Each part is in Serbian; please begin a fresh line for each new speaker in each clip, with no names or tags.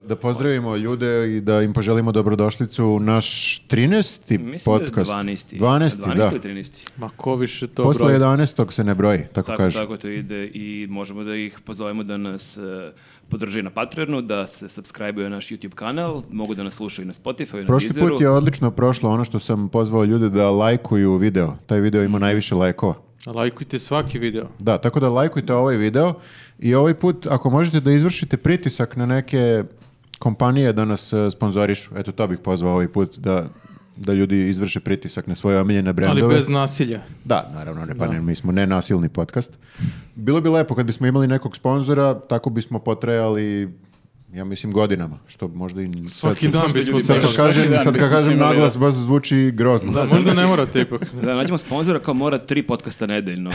Da pozdravimo ljude i da im poželimo dobrodošlicu u naš 13.
Mislim
podcast.
da je 12.
12., da.
ili 13.
Ma ko više to
Posle
broji?
11. se ne broji, tako,
Tako,
kaže.
tako to ide i možemo da ih pozovemo da nas e, podrže na Patreonu, da se subscribe na naš YouTube kanal, mogu da nas slušaju na Spotify, na
Prošli
Deezeru.
put je odlično prošlo ono što sam pozvao ljude da lajkuju video. Taj video ima najviše lajkova.
Lajkujte svaki video.
Da, tako da lajkujte ovaj video i ovaj put ako možete da izvršite pritisak na neke kompanije da nas e, sponzorišu. Eto, to bih pozvao ovaj put da, da ljudi izvrše pritisak na svoje omiljene brendove.
Ali bez nasilja.
Da, naravno, ne, pa ne, mi smo nenasilni podcast. Bilo bi lepo kad bismo imali nekog sponzora, tako bismo potrajali, ja mislim, godinama, što možda i...
Svaki
sad,
dan
možda
bismo
ljudi
Sad kad
Svaki
prešli.
dan
kažem, sad kad
bismo
kažem
snimali,
naglas, baš zvuči grozno.
Da, možda ne morate ipak.
Da nađemo sponzora kao mora tri podcasta nedeljno.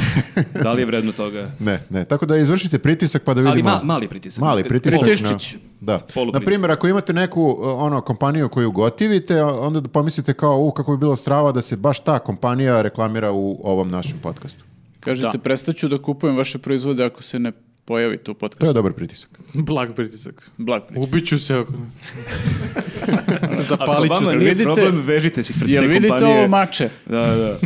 da li je vredno toga?
Ne, ne, tako da izvršite pritisak pa da vidimo...
Ali ma- e, mali pritisak.
Mali pritisak.
Pritiščić.
Na, da. Na
Polupritisak.
primjer, ako imate neku uh, ono kompaniju koju gotivite, onda da pomislite kao, u, kako bi bilo strava da se baš ta kompanija reklamira u ovom našem podcastu.
Kažete, prestaću da kupujem vaše proizvode ako se ne pojavi tu
To je
podcast.
dobar pritisak.
Blag pritisak.
Blag pritisak.
Ubiću se ako...
Ako
Zapalit ću
vama
se.
nije
Vidite-
problem, vežite se ispred te
Jel
kompanije.
vidite ovo mače?
Da, da.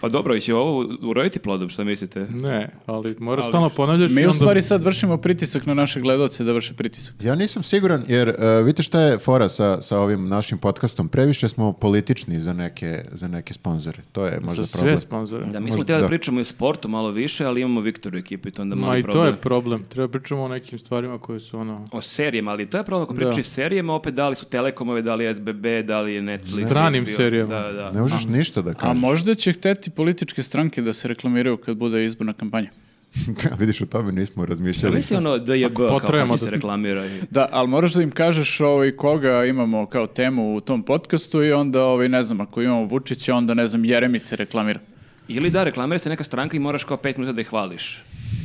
Pa dobro, će ovo uroditi plodom, što mislite?
Ne, ali moraš stalno ponavljaš. i
Mi u
onda-
stvari sad vršimo pritisak na naše gledoce da vrše pritisak.
Ja nisam siguran, jer e, vidite šta je fora sa, sa ovim našim podcastom. Previše smo politični za neke, za neke sponzore. To je možda
Za sve
problem.
sponzore.
Da, mi
Možda,
smo htjeli
da.
da pričamo i o sportu malo više, ali imamo Viktoru u ekipi, to je onda
Ma
mali
i to
problem.
je problem. Treba pričamo o nekim stvarima koje su ono...
O serijama, ali to je problem ako pričaju
Da.
o serijama, opet da li su Telekomove, da li je SBB, da li je Netflix.
Stranim
HBO.
serijama.
Da, da.
Ne možeš ništa da
A
kažeš.
možda će hteti političke stranke da se reklamiraju kad bude izborna kampanja.
Da, Vidiš, o tome nismo
Da
razmišljali.
misli ono DJB, kao
potrajemo
hoće se
da-
reklamira. i-
Da, ali moraš da im kažeš ovaj, koga imamo kao temu u tom podcastu i onda, ovaj, ne znam, ako imamo Vučića, onda, ne znam, Jeremić se reklamira.
Ili da, reklamira se neka stranka i moraš kao pet minuta da ih hvališ.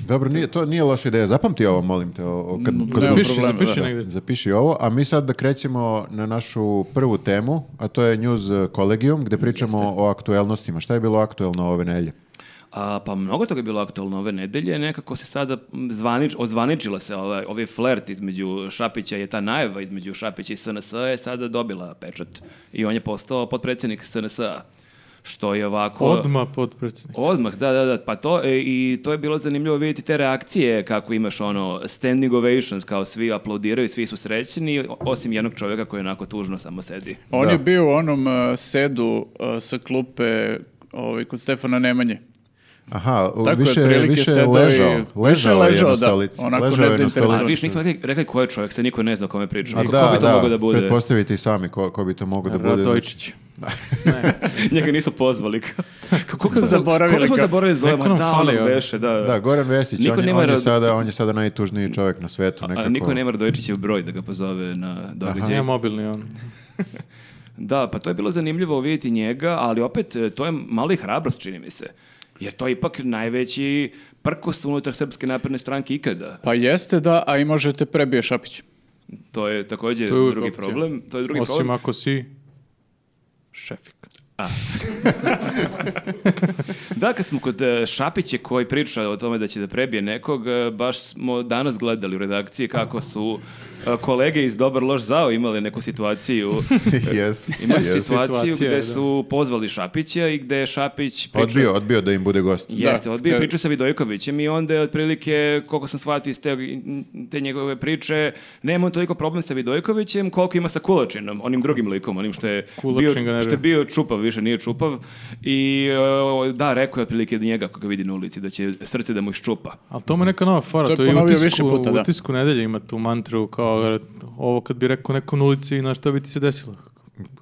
Dobro, nije, to nije loša ideja. Zapamti ovo, molim te. o- o- kad,
Mm,
kad
nema
budeš-
Zapiši,
problema,
zapiši
da.
negdje.
Zapiši ovo, a mi sad da krećemo na našu prvu temu, a to je News Collegium, gde pričamo o aktuelnostima. Šta je bilo aktuelno ove nelje?
A, pa mnogo toga je bilo aktualno ove nedelje, nekako se sada mm, zvanič, ozvaničila se ovaj, ovaj flert između Šapića, je ta najava između Šapića i SNS je sada dobila pečat i on je postao potpredsjednik SNS, što je ovako...
Odma potpredsjednik.
Odmah, da, da, da, pa to, e, i to je bilo zanimljivo vidjeti te reakcije kako imaš ono standing ovations, kao svi aplaudiraju, svi su srećni, o- osim jednog čovjeka koji onako tužno samo sedi.
On
Da.
je bio u onom uh, sedu uh, sa klupe ovaj, kod Stefana Nemanje.
Aha, u-
Tako je,
više,
otprilike
više
sedao i-
ležao.
više
Ležao je
ležao,
na
da,
stolici.
onako
Ležao je na
nezainteresovan.
Ali
stolici.
viš nismo rekli, rekli ko je čovjek, se niko ne zna o kome pričamo.
A
Ko,
da,
ko bi to
da,
mogao da bude?
pretpostavite i sami ko, ko bi to mogao da bude.
Radojčić.
Njega nisu pozvali. Kako smo
Zaboravili
Kako smo
ga.
zaboravili zovema?
Neko nam
Da,
fali,
ono
ono.
beše, da.
Da, Goran Vesić,
Niko
on, je,
nema
on je
rad-
sada, on je sada najtužniji čovjek na svetu. Nekako.
A niko nema Radojičićev broj da ga pozove na događaj.
Nije mobilni on.
Da, pa to je bilo zanimljivo vidjeti njega, ali opet e, to je malo i hrabrost, čini mi se. Jer to je ipak najveći prkos unutar Srpske napredne stranke ikada.
Pa jeste da, a i možete prebije Šapić.
To je također
To je uvijek
drugi
opcija.
problem. To je drugi
Osim
problem.
ako si šefik.
Da, kad smo kod e, Šapića koji priča o tome da će da prebije nekog, e, baš smo danas gledali u redakciji kako su e, kolege iz Dobar loš zao imali neku situaciju.
Yes,
Imali
yes.
situaciju
Situacija je,
gde
da.
su pozvali Šapića i gde je Šapić pričao-
Odbio, odbio da im bude gost.
Jeste,
Da,
odbio
to je-
priču sa Vidojkovićem i onda je otprilike, koliko sam shvatio iz te, te njegove priče, nema on toliko problem sa Vidojkovićem koliko ima sa Kulačinom, onim drugim likom, onim što je, bio,
Kulačin ga nervira.
što je bio čupav, više nije čupav. I e, da, rekao je otprilike njega kako ga vidi na ulici, da će srce da mu iščupa.
Ali to mu je neka nova fora,
To
to,
je
je u
ponovio
utisku,
više puta,
u
da.
utisku nedelje ima tu mantru kao ovo kad bi rekao nekom na ulici na šta bi ti se desilo.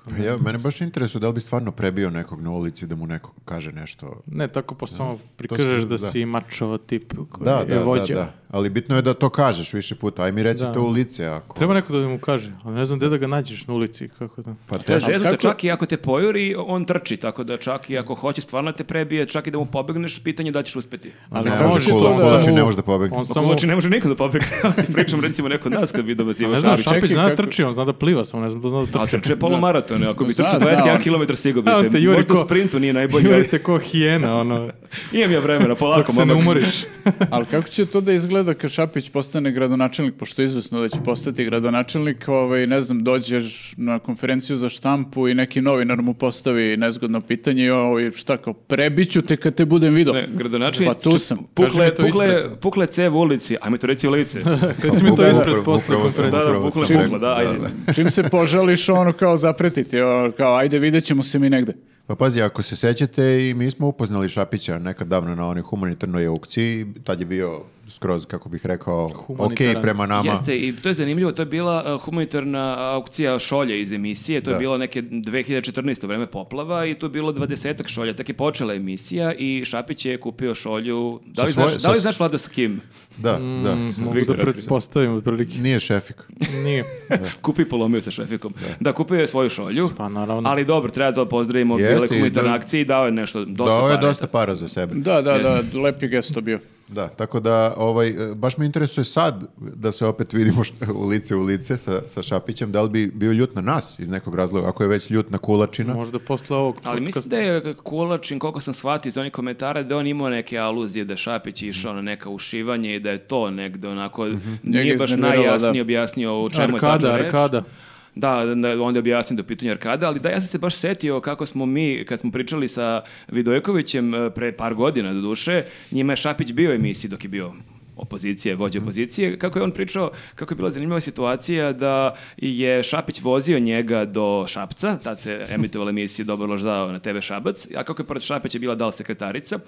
Pa Ja, mene baš interesuje da li bi stvarno prebio nekog na ulici da mu neko kaže nešto.
Ne, tako pa samo prikažeš
su- da.
da, si mačova tip koji
Da,
je
da, da,
vođa.
da. Ali bitno je da to kažeš više puta. Aj mi reci
Da.
to u lice ako...
Treba neko da mu kaže, ali ne znam gde da ga nađeš na ulici, kako da.
Pa
To je
te...
zeznuto,
kako-
čak i ako te pojuri, on trči, tako da čak i ako hoće stvarno da te prebije, čak i da mu pobegneš, pitanje je da li ćeš uspeti.
Ali
pa Ne,
kako
može
će
kula-
to da...
kulači ne može da pobegne.
On
Samo...
samo...
ne može nikad da pobegne, pričam recimo neko od nas kad bi dobacio
Ne znam,
Ali čekaj,
Šapić zna da
kako-
trči, on zna da pliva, samo ne znam da zna da
A
trči.
trče polumaratone, ako bi
Zna,
trčao
zna
21
on.
km sigurno
A,
bi
te
te.
juri
Možda u
ko-
sprintu nije najbolje.
Juri
ali
te ko hijena, ono,
Imam ja vremena, polako,
dok se ne
momak.
umoriš.
Ali kako će to da izgleda kad Šapić postane gradonačelnik, pošto je izvesno da će postati gradonačelnik, ovaj, ne znam, dođeš na konferenciju za štampu i neki novinar mu postavi nezgodno pitanje i ovaj, šta kao, prebiću te kad te budem vidio.
Ne, gradonačelnik,
Pa tu sam.
Kaži mi
Pukle,
to
pukle,
ispred.
pukle cev u ulici, ajme to reci u lice.
Reci mi to
Upravo-
ispred
upravo-
posle
upravo sam-
Da,
konferencije.
da,
upravo
bukle,
sam
bukle,
rekao,
da, ajde.
Čim se požališ, ono kao zapretiti, ono, kao, ajde, vidjet ćemo se mi negde.
Pa pazi, ako se sećate i mi smo upoznali Šapića nekad davno na onoj humanitarnoj aukciji, tad je bio skroz, kako bih rekao, ok
Humanitaran.
prema nama.
Jeste, i to je zanimljivo, to je bila uh, humanitarna aukcija šolje iz emisije, to je
Da.
bilo neke 2014. vreme poplava i tu je bilo dvadesetak šolja, tek je počela emisija i Šapić je kupio šolju, da
Sa
li, znaš,
svoje-
da li
sa-
znaš Vlado sa kim?
Da, da.
Mm,
Mogu da pretpostavim otprilike.
Nije šefik.
Nije.
Kupi i polomio sa šefikom. Da. kupio je svoju šolju,
Pa naravno.
ali dobro, treba da pozdravimo,
Jeste,
bile
i
humanitarne
da-
akcije i dao je nešto, dosta
Dao je
para.
dosta para za sebe.
Da, da, da, lepi gest to bio.
Da, tako da, ovaj, e, baš me interesuje sad da se opet vidimo šta- u lice u lice sa, sa Šapićem, da li bi bio ljut na nas iz nekog razloga, ako je već ljut na Kulačina.
Možda posle ovog
Ali mislim da je Kulačin, koliko sam shvatio iz onih komentara, da je on imao neke aluzije da je Šapić
Mhm.
išao na neka ušivanje i da je to negde onako,
Njega
nije
je
baš
iznerviralo,
najjasnije
da.
objasnio o čemu je
Arkada,
tačno reč.
Arkada.
Da, da, da, onda je objasnio do pitanja Arkada, ali da, ja sam se baš setio kako smo mi, kad smo pričali sa Vidojkovićem e, pre par godina do duše, njima je Šapić bio u emisiji dok je bio opozicije,
Mhm.
vođa opozicije, kako je on pričao, kako je bila zanimljiva situacija da je Šapić vozio njega do Šapca, tad se emitovala emisija Dobar loš zao na TV Šabac, a kako je pored Šapića bila dal sekretarica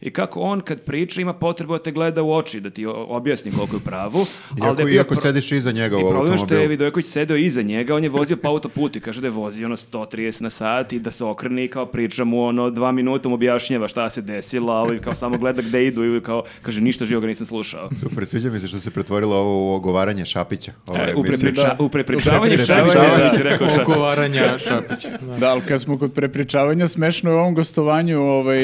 i kako on kad priča ima potrebu da te gleda u oči, da ti o- objasni koliko je u pravu. ali
Iako,
da je bio
iako
pro-
sediš iza njega u
i problem što je
automobilu.
Vidojković sedeo iza njega, on je vozio po autoputu i kaže da je vozio ono 130 na sat i da se okrene i kao priča mu ono dva minuta mu objašnjava šta se desilo, ali kao samo gleda gde idu i kao kaže ništa živo ga nisam slušao.
Super, sviđa mi se što se pretvorilo ovo u ogovaranje Šapića. Ovaj, Ova
E, u
emisija.
prepriča-
da.
u prepričavanje
U prepričavanje,
šta je,
da.
da, će rekao šta.
Ogovaranja Šapića. Da.
Da, ali kad smo kod prepričavanja, smešno je u ovom gostovanju, ovaj,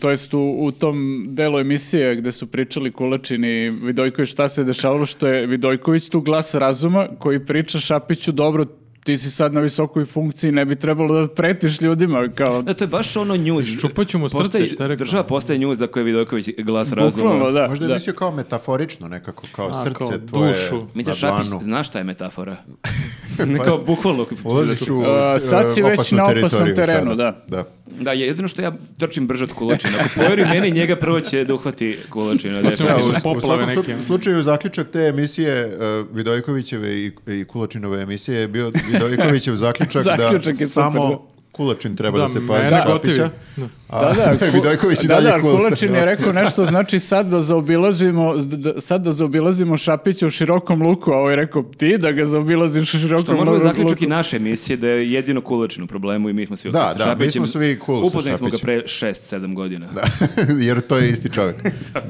to jest u, u tom delu emisije gde su pričali Kulačin i Vidojković šta se dešavalo, što je Vidojković tu glas razuma koji priča Šapiću dobro, ti si sad na visokoj funkciji, ne bi trebalo da pretiš ljudima, kao,
Da, to je baš ono news.
Iščupaću mu srce,
Postaje-
šta je rekao?
Država postaje news ako je Vidojković glas
bukvalno,
razuma.
da.
Možda je
da.
mislio kao metaforično nekako, kao
A,
srce
kao
tvoje
dušu.
Mislim,
na
Šapić,
dlanu.
znaš šta je metafora? Kao bukvalno.
Ulaziš u
A, sad si
e,
već
opasnu
na opasnom
teritoriju
terenu,
sada.
da.
da.
Da, je- jedino što ja trčim brže od kulačina. Ako poveri meni, njega prvo će da uhvati kulačina.
Mislim,
definitivno.
Da,
Su
u, u
poplave
svakom slu-
neke.
slučaju zaključak te emisije uh, Vidojkovićeve i, i Kulačinove emisije je bio Vidojkovićev zaključak,
Zaključak je
da
super,
samo
da.
Kulačin treba da,
Da,
se
mene
pazi
gotivi.
Šapića.
Da.
A Vidojković i
da,
dalje
da,
cool se
Kulačin je
nosi.
rekao nešto, znači sad da zaobilazimo, da- sad da zaobilazimo Šapića u širokom luku, a ovaj je rekao ti da ga zaobilaziš u širokom
To možemo
luku.
zaključak i naše emisije da je jedino Kulačin u problemu i mi smo svi ok
Da,
sa
da, mi smo svi cool sa
Upoznali smo ga
Šapićem.
pre 6-7 godina. Da.
Jer to je isti čovjek.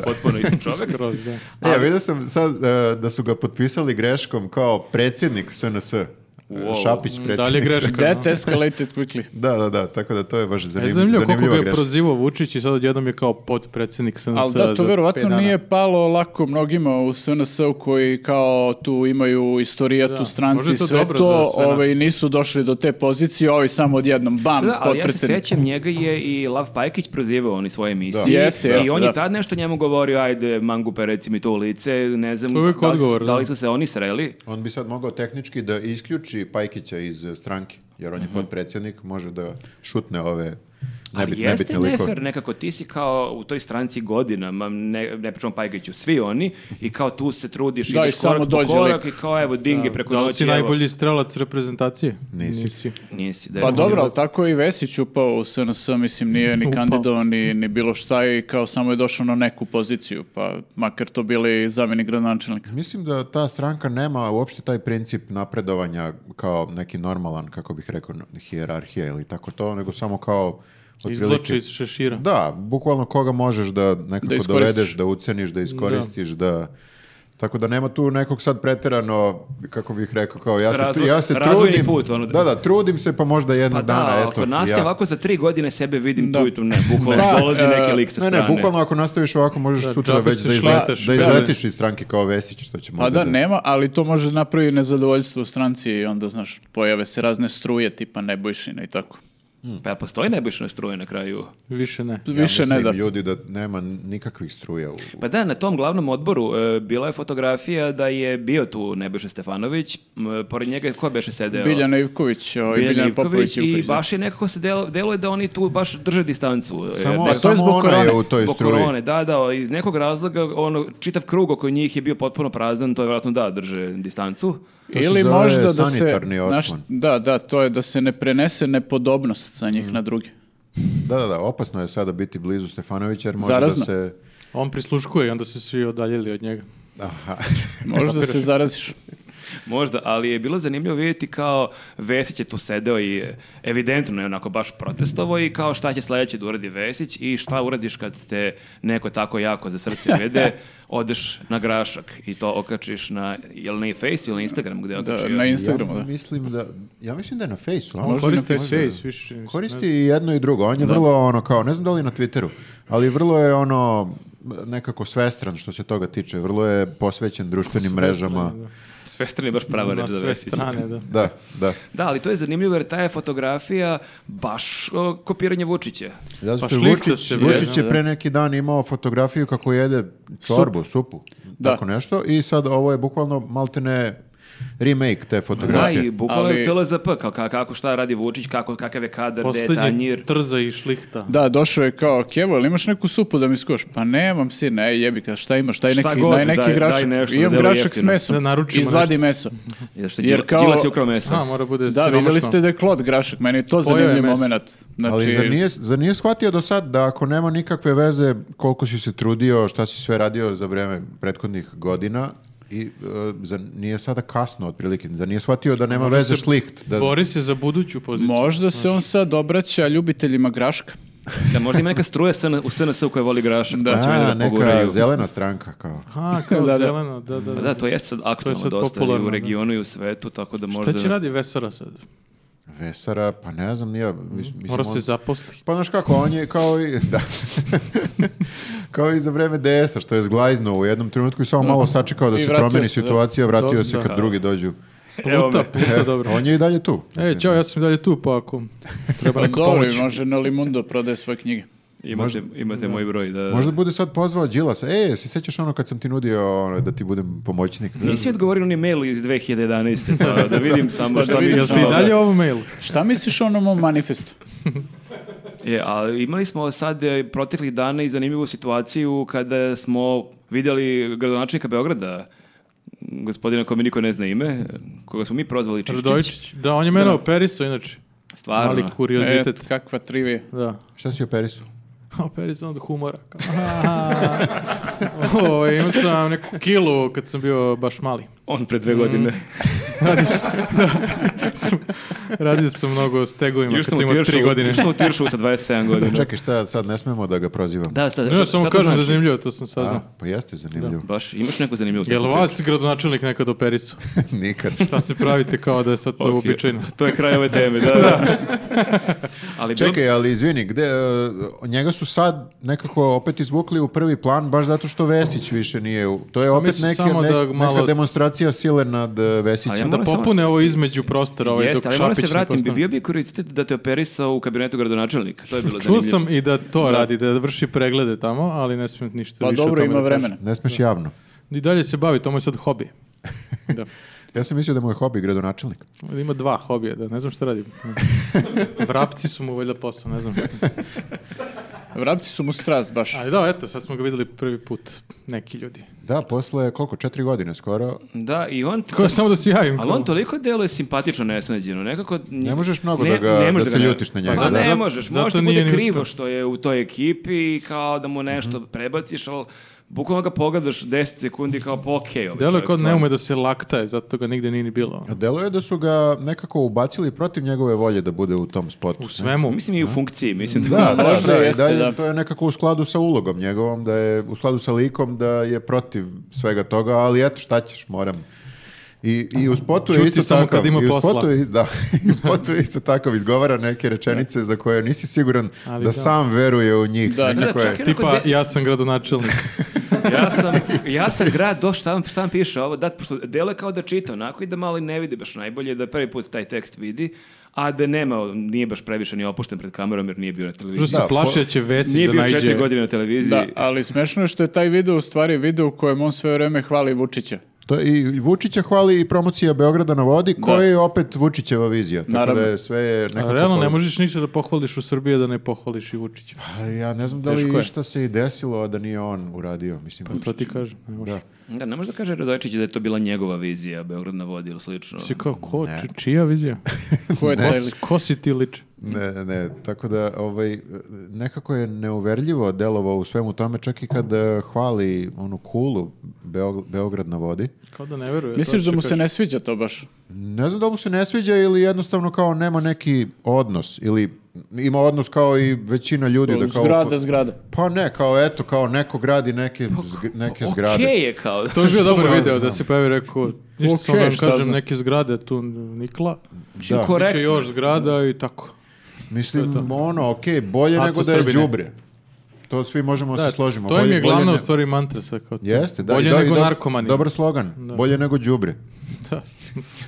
Potpuno isti čovjek.
Skroz, da.
E, ja vidio sam sad e, da su ga potpisali greškom kao predsjednik SNS. E,
Wow.
Šapić predsjednik.
Dalje greška.
That escalated quickly.
Da, da, da, tako da to je baš
Ne
zanim,
znam koliko
zanimljiva
ga je
greška.
prozivao Vučić i sad odjednom je kao potpredsjednik SNS.
Ali da,
za
to
pet
verovatno
dana.
nije palo lako mnogima u SNS-u koji kao tu imaju istorijat
Da,
u stranci
možda
i
je to
sve
dobro
to,
za sve nas.
ovaj, nisu došli do te pozicije, ovi samo odjednom, bam,
Da, ali ja se
potpredsednik.
sećam, njega je i Lav Pajkić prozivao on iz svoje emisije.
Da. Jeste,
I
jeste,
on
da.
je tad nešto njemu govorio, ajde, mangupe, reci mi to u lice, ne znam
To je uvijek
da, li-
odgovor,
da li
da.
su se oni sreli.
On bi sad mogao tehnički da isključi Pajkića iz e, stranke, jer on je podpredsjednik, može da šutne ove
Mhm. Ali
nebit,
jeste
nebitne likove.
nefer, nekako ti si kao u toj stranci godinama, ne, ne pričamo Pajkiću, svi oni, i kao tu se trudiš,
Da, i
ideš
samo
korak po
dođe
korak i kao evo dinge preko
Da li
noći,
si
evo.
najbolji strelac reprezentacije?
Nisi.
Nisi,
Pa
definitivno.
dobro, ali tako je i Vesić upao u SNS, mislim, nije ni
Upao.
kandidovan, ni, ni bilo šta i kao samo je došao na neku poziciju, pa makar to bili zamjeni gradonačelnika.
Mislim da ta stranka nema uopšte taj princip napredovanja kao neki normalan, kako bih rekao, hijerarhija ili tako to, nego samo kao...
Izloči
otprilike-
iz šešira.
Da, bukvalno koga možeš da nekako
iskoristiš.
dovedeš, da uceniš, da iskoristiš, da... Tako da nema tu nekog sad preterano, kako bih rekao, kao ja se,
Razvoj-
ja se
razvojni
trudim.
put, ono.
Da, da, trudim se pa možda jednog
Pa da,
dana, eto.
ako nastaje
ja.
ovako za tri godine sebe vidim tu i tu, ne, bukvalno
Da,
dolazi
e,
neki lik sa
Ne,
strane.
ne, bukvalno ako nastaviš ovako možeš
Da,
sutra
džabe
već
se
da, izle,
šletaš,
da
da.
izletiš iz stranke kao Vesić, što će možda
Pa da,
da-
nema, ali to može da napravi nezadovoljstvo u stranci i onda, znaš, pojave se razne struje tipa Nebojšina i tako.
Pa jel postoji nebojšna struja na kraju?
Više ne.
Više ne da.
ljudi da nema nikakvih struja u...
Pa da, na tom glavnom odboru e, bila je fotografija da je bio tu Nebojša Stefanović, m, pored njega ko beše sedeo?
Biljana Ivković o, i
Biljan
Biljana
Ivković
Popović
i
Ivković. da.
baš je nekako se delo, deluje da oni tu baš drže distancu. E,
Samo,
to je
samo
zbog
ona je
korone,
u toj
zbog
struji.
korone, da, da, iz nekog razloga ono, čitav krug oko njih je bio potpuno prazan, to je vjerojatno da, drže distancu.
To se
Ili
zove
možda da se...
sanitarni
znaš,
otpon.
da, da, to je da se ne prenese nepodobnost sa njih na druge.
Da, da, da, opasno je sada biti blizu Stefanovića jer može da
Zarazno.
se...
On prisluškuje i onda su svi odaljili od njega.
Aha.
Možda se zaraziš.
Možda, ali je bilo zanimljivo vidjeti kao Vesić je tu sedeo i evidentno je onako baš protestovao i kao šta će sledeće da uradi Vesić i šta uradiš kad te neko tako jako za srce vede, odeš na grašak i to okačiš na, jel na Face ili na Instagram gde je
Da,
okačio?
na Instagramu,
ja
da.
mislim da... Ja mislim da je na Fejsu. a?
On
Možda
koristi
na Facebooku.
Face više. mislim,
Koristi i jedno i drugo. On je vrlo ono kao, ne znam da li na Twitteru, ali vrlo je ono nekako svestran što se toga tiče. Vrlo je posvećen društvenim mrežama.
Sve strane je baš prava
ne znam,
reč
Na
za
sve
Vesića.
strane, da.
Da, da.
Da, ali to je zanimljivo jer ta je fotografija baš o, kopiranje Vučića.
Zato
Pa
što je
šlihta
Vučić,
se,
Vučić
vjerno,
je
da.
pre neki dan imao fotografiju kako jede čorbu, supu,
Da.
tako nešto. I sad ovo je bukvalno maltene remake te
Da,
fotografije.
i bukvalno je
Ali-
TLZP, kao, ka- kako šta radi Vučić, kako, kakav je kadar, gde je
Poslednji
tanjir.
trza i šlihta.
Da, došao je kao, Kevo, jel imaš neku supu da mi skuš? Pa nemam sine, ej jebi ga, šta imaš, taj
Šta
neki,
god,
daj neki
daj-
grašak,
daj nešto,
imam
delo
grašak s
jeftino.
mesom,
Da naručimo
izvadi
nešto.
meso.
Zato što
Jer
Đila-
kao-
Đilas je ukrao mesa.
A, mora bude
Da, vidjeli
siromašno.
ste da je klot grašak, meni je to
Pojeo je
zanimljiv
meso.
moment. Znači,
Ali zar nije, zar nije shvatio do sad da ako nema nikakve veze koliko si se trudio, šta si sve radio za vreme prethodnih godina i e, zar nije sada kasno otprilike? Zar nije shvatio da nema
Možda
veze
se
šlicht? Da,
Bori se za buduću poziciju.
Možda se on sad obraća ljubiteljima graška.
Da, možda ima neka struja SN, u SNS u kojoj voli grašak.
Da.
pa će valjda
A,
da
neka
poguraju.
zelena stranka kao.
Ha, kao
Da, da.
zeleno, da, da.
Pa
da.
da, to je sad aktualno
sad
dosta i
popularno,
u
da.
regionu i u svetu, tako da možda...
Šta će radi Vesara sad?
Vesara, pa ne znam, nije... mis- mislim,
Mora
on-
se zaposli.
Pa znaš kako, on je kao i... Da. kao i za vreme DS-a, što je zglajznuo u jednom trenutku i samo malo sačekao da
I
se
vratio
promeni
se, da.
situacija, vratio
Do-
se
da.
kad drugi dođu.
Evo
Pluta,
me.
pluta,
E,
dobro.
On je i dalje tu.
E, čao, ja sam i dalje tu, pa ako treba
Pa
neko
dobro,
pomoć.
može na Limundo prodaje svoje knjige.
Imate, imate moj broj, da...
Možda bude sad pozvao Đilasa. E, si sećaš ono kad sam ti nudio ono, da ti budem pomoćnik?
Nisi odgovorio ni mail iz 2011. Pa da vidim samo
Pa
šta
da vidim
misliš.
samo.
Ti
o-
dalje ovo mail?
Šta misliš o onom mom manifestu?
Je, a imali smo sad e, proteklih dana i zanimljivu situaciju kada smo vidjeli gradonačelnika Beograda, gospodina kome niko ne zna ime, koga smo mi prozvali Čiščić.
Radojičić. Da, on je mene operisao, inače.
Stvarno.
Mali kuriozitet.
E, kakva trivija.
Da.
Šta si operisu?
Operisao od humora. kao, aha. O, imao sam neku kilu kad sam bio baš mali.
On pre dve godine.
Mm. Radio sam, da. Radio sam mnogo o stegovima
Još
kad
sam
sam
u
imao
Tiršovu-
tri godine.
Još sam u Tiršovu sa 27 godina.
Čekaj, šta sad ne smemo da ga prozivamo?
Da, šta,
Ne,
šta-
samo
šta to
kažem da je
znači?
zanimljivo, to sam
A,
saznao.
pa jeste zanimljivo.
Baš, imaš neku zanimljivu
Jel
teku?
vas gradonačelnik nekad operisao?
Nikad.
Šta se pravite kao da je sad to
Ok,
uobičajeno?
To je kraj ove teme, da. da. Ali bilo-
Čekaj, ali izvini, gde, e, njega su sad nekako opet izvukli u prvi plan, baš zato što Vesić više nije. u- To je opet
mislim
neke,
Pa samo
ne-
da
neka
malo-
demonstracija sile nad e,
Ali ja
Vesićem.
moram
Da
samo-
popune ovo između prostora, ovaj
Jeste,
dok
ali moram
Šapić
se
ne
vratim. Bi
postane.
bio bi kuriozitet da te operisao u kabinetu gradonačelnika. To je bilo
Čuo
zanimljivo.
sam i da to radi, da vrši preglede tamo, ali ne smijem ništa
Pa
više o
dobro,
tome
ima
da kažem.
vremena.
Ne smeš javno.
I dalje se bavi, to mu je sad hobi. Da.
Ja sam mislio da mu je hobi gradonačelnik.
Ima dva hobija, da ne znam šta radi. Vrapci su mu valjda posao, ne znam.
Vrapci su mu strast baš.
Ali da, eto, sad smo ga videli prvi put, neki ljudi.
Da, posle koliko, četiri godine skoro,
Da, i on...
Ko, samo da se javim.
Ali on toliko deluje simpatično nesnađeno, nekako...
Ne možeš mnogo da ga-
možeš
da se
ne-
ljutiš na njega,
Pa
da.
ne
Zato-
možeš,
zato
možda ti
nije
bude
ni
krivo
uspeo. Mhm.
što je u toj ekipi i kao da mu nešto prebaciš, ali bukvalno ga pogledaš 10 sekundi kao pa okej ovaj
Delo je
čovjek
kao da ne
stvarno.
ume da se laktaje, zato ga nigde nije ni bilo.
A Delo je da su ga nekako ubacili protiv njegove volje da bude u tom spotu.
U svemu.
Mislim i u funkciji, mislim da...
Da, da,
Možda
da, i
jeste,
dalje
da.
to je nekako u skladu sa ulogom njegovom, da je u skladu sa likom, da je protiv svega toga, ali eto šta ćeš, moram. I, i u spotu je
Čuti
isto
samo
takav,
kad ima
i u
posla.
spotu je, is- da, i u spotu je isto takav, izgovara neke rečenice za koje nisi siguran
Ali
da,
da.
sam veruje u njih.
Da,
nekako
da,
je-
čak i-
Tipa,
Onako de-
ja sam gradonačelnik.
ja sam, ja sam grad do šta vam, šta vam piše ovo, da, pošto delo je kao da čita onako i da malo i ne vidi baš najbolje, da prvi put taj tekst vidi, a da nema, nije baš previše ni opušten pred kamerom jer nije bio na televiziji.
Prosto se
Da,
plaši
po-
da će Vesić
Nije
da
bio četiri
najđe.
godine na televiziji.
Da, ali smešno je što je taj video u stvari video u kojem on sve vreme hvali Vučića.
To je i Vučića hvali i promocija Beograda na vodi, koja je opet Vučićeva vizija. Tako
Naravno.
da je sve je nekako...
A realno ne
povezano.
možeš ništa da pohvališ u Srbiji, a da ne pohvališ i Vučića.
Pa ja ne znam da li
Teško je.
išta se i desilo, a da nije on uradio. Mislim,
Pa to ti kažem. Ne možeš.
Da.
Da, ne može da kaže Radojčić da je to bila njegova vizija, Beograd na vodi ili slično.
Si kao, ko, či- čija vizija?
Ko je
Ko,
taj
s-
lik?
ko si ti liče?
Ne, ne, tako da ovaj, nekako je neuverljivo delovao u svemu tome, čak i kad eh, hvali onu kulu Beog- Beograd na vodi.
Kao da ne veruje.
Misliš
to
da mu
ću
se
kažem.
ne sviđa to baš?
Ne znam da li mu se ne sviđa ili jednostavno kao nema neki odnos ili ima odnos kao i većina ljudi. Da kao,
Zgrada, zgrada.
Pa ne, kao eto, kao neko gradi neke, zg- neke zgrade.
Okej je kao.
Pa To bi bio dobar
Što
video
znam.
da se pojavi rekao, ništa
Ok,
samo da vam
šta
kažem,
znam.
neke zgrade tu nikla,
Mislim,
Da.
će
korektno.
još zgrada i tako.
Mislim, ono, okej, bolje
Aco
nego da je
Srbine.
đubre. To svi možemo da se složimo.
to im
Bolje-
je
bolje
glavna u
ne-
stvari mantra sad kao to.
Jeste, da. i
Bolje
do- i
nego
do-
narkomani.
Dobar slogan. Bolje nego đubre.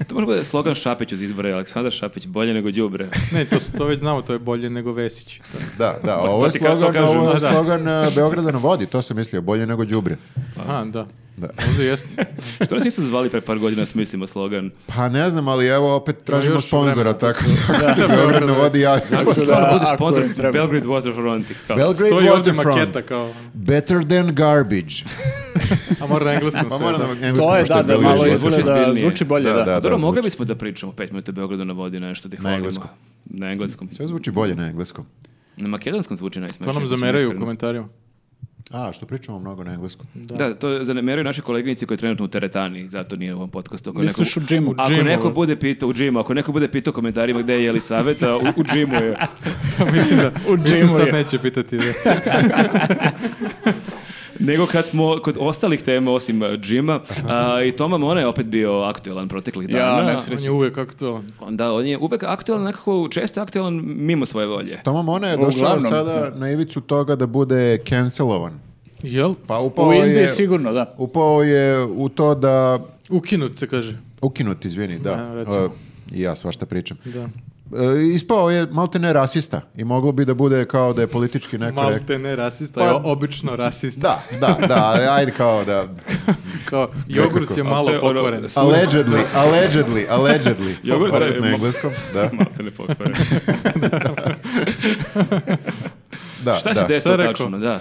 To može bude slogan Šapić uz izbore, Aleksandar Šapić, bolje nego đubre.
Ne, to, to već znamo, to je bolje nego Vesić. To je-
Da, da,
to
ovo je
ti ka- to
slogan,
kažem,
ovo je
da.
slogan eh, Beograda na vodi, to sam mislio, bolje nego đubre.
Aha, da.
Da.
Ovdje jeste.
Što nas nisu zvali pre par godina, smislimo slogan.
Pa ne znam, ali evo opet tražimo
još
sponzora,
vremena, to
tako da se Beograd na vodi javi.
Ako se
da,
stvarno bude
ako
sponsor
im treba.
Belgrade Waterfront. kao.
Belgrade
Stoji ovdje
Waterfront,
maketa kao,
better than garbage.
a mora na engleskom
Pa
sve.
moram
da.
na engleskom,
To je,
pošto
da, da,
Belgrade
malo
zvuči
Waterfront.
izgleda,
ozbiljnije.
zvuči bolje,
Da,
da.
da.
Dobro, mogli
zvuči.
bismo da pričamo pet minuta o Beogradu na vodi nešto da ih
Na
hvalimo.
engleskom.
Na engleskom.
Sve zvuči bolje na engleskom.
Na makedonskom zvuči najsmešnije.
To nam
ako sam
zameraju u
iskren.
komentarima.
A, što pričamo mnogo na engleskom.
Da, to zameraju naši koleginici koji je trenutno u teretani, zato nije u ovom podcastu. Ako neko,
Misliš u džimu?
ako
džimu, ono.
neko
da.
bude pitao u džimu, ako neko bude pitao u komentarima gde je Jelisaveta, u, u džimu je.
Mislim da,
U
mislim
džimu
sad
je.
neće pitati. Da.
Nego kad smo kod ostalih tema osim e, džima, a, i Toma Mona je opet bio aktuelan proteklih
Ja,
dana.
ne sre-
On je uvijek aktualan.
Onda on je uvek aktuelan, nekako često aktuelan mimo svoje volje.
Toma Mona je došao
Uglavnom,
sada na ivicu toga da bude cancelovan.
Jel?
Pa upao
U Indiji
je,
sigurno, da.
upao je u to da...
Ukinut se kaže.
Ukinut, izvini, da.
Da, recimo.
E, I ja svašta pričam.
Da.
E, ispao je malte ne rasista i moglo bi da bude kao da je politički nekorekt.
Malte ne rasista,
Pa-
je obično rasista.
Da, da, da, ali ajde kao da...
Kao, jogurt je malo
A to je ono-
pokvaren.
Allegedly, allegedly, allegedly.
Jogurt
Opet
je
na
ma-
engleskom, da.
Malte ne pokvaren.
da
Šta
da.
se desilo
Šta je
tačno, da.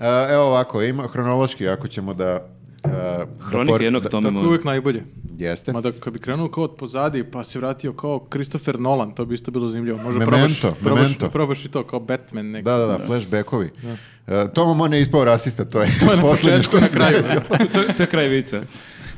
E, evo ovako, ima hronološki, ako ćemo da... e, da
Hronika
por-
jednog
da-
Tome
Tako je
Mona.
uvijek najbolje.
Jeste.
Mada kad bi krenuo kao od pozadi pa se vratio kao Christopher Nolan, to bi isto bilo zanimljivo. Možda probaš,
Memento,
probaš,
Memento.
probaš i to kao Batman neki.
Da, da, da, flashbackovi. E, Toma Mon je ispao rasista, to je, to
na
poslednje
početku,
što
na
se
kraju.
desilo.
to, je- to je kraj vica.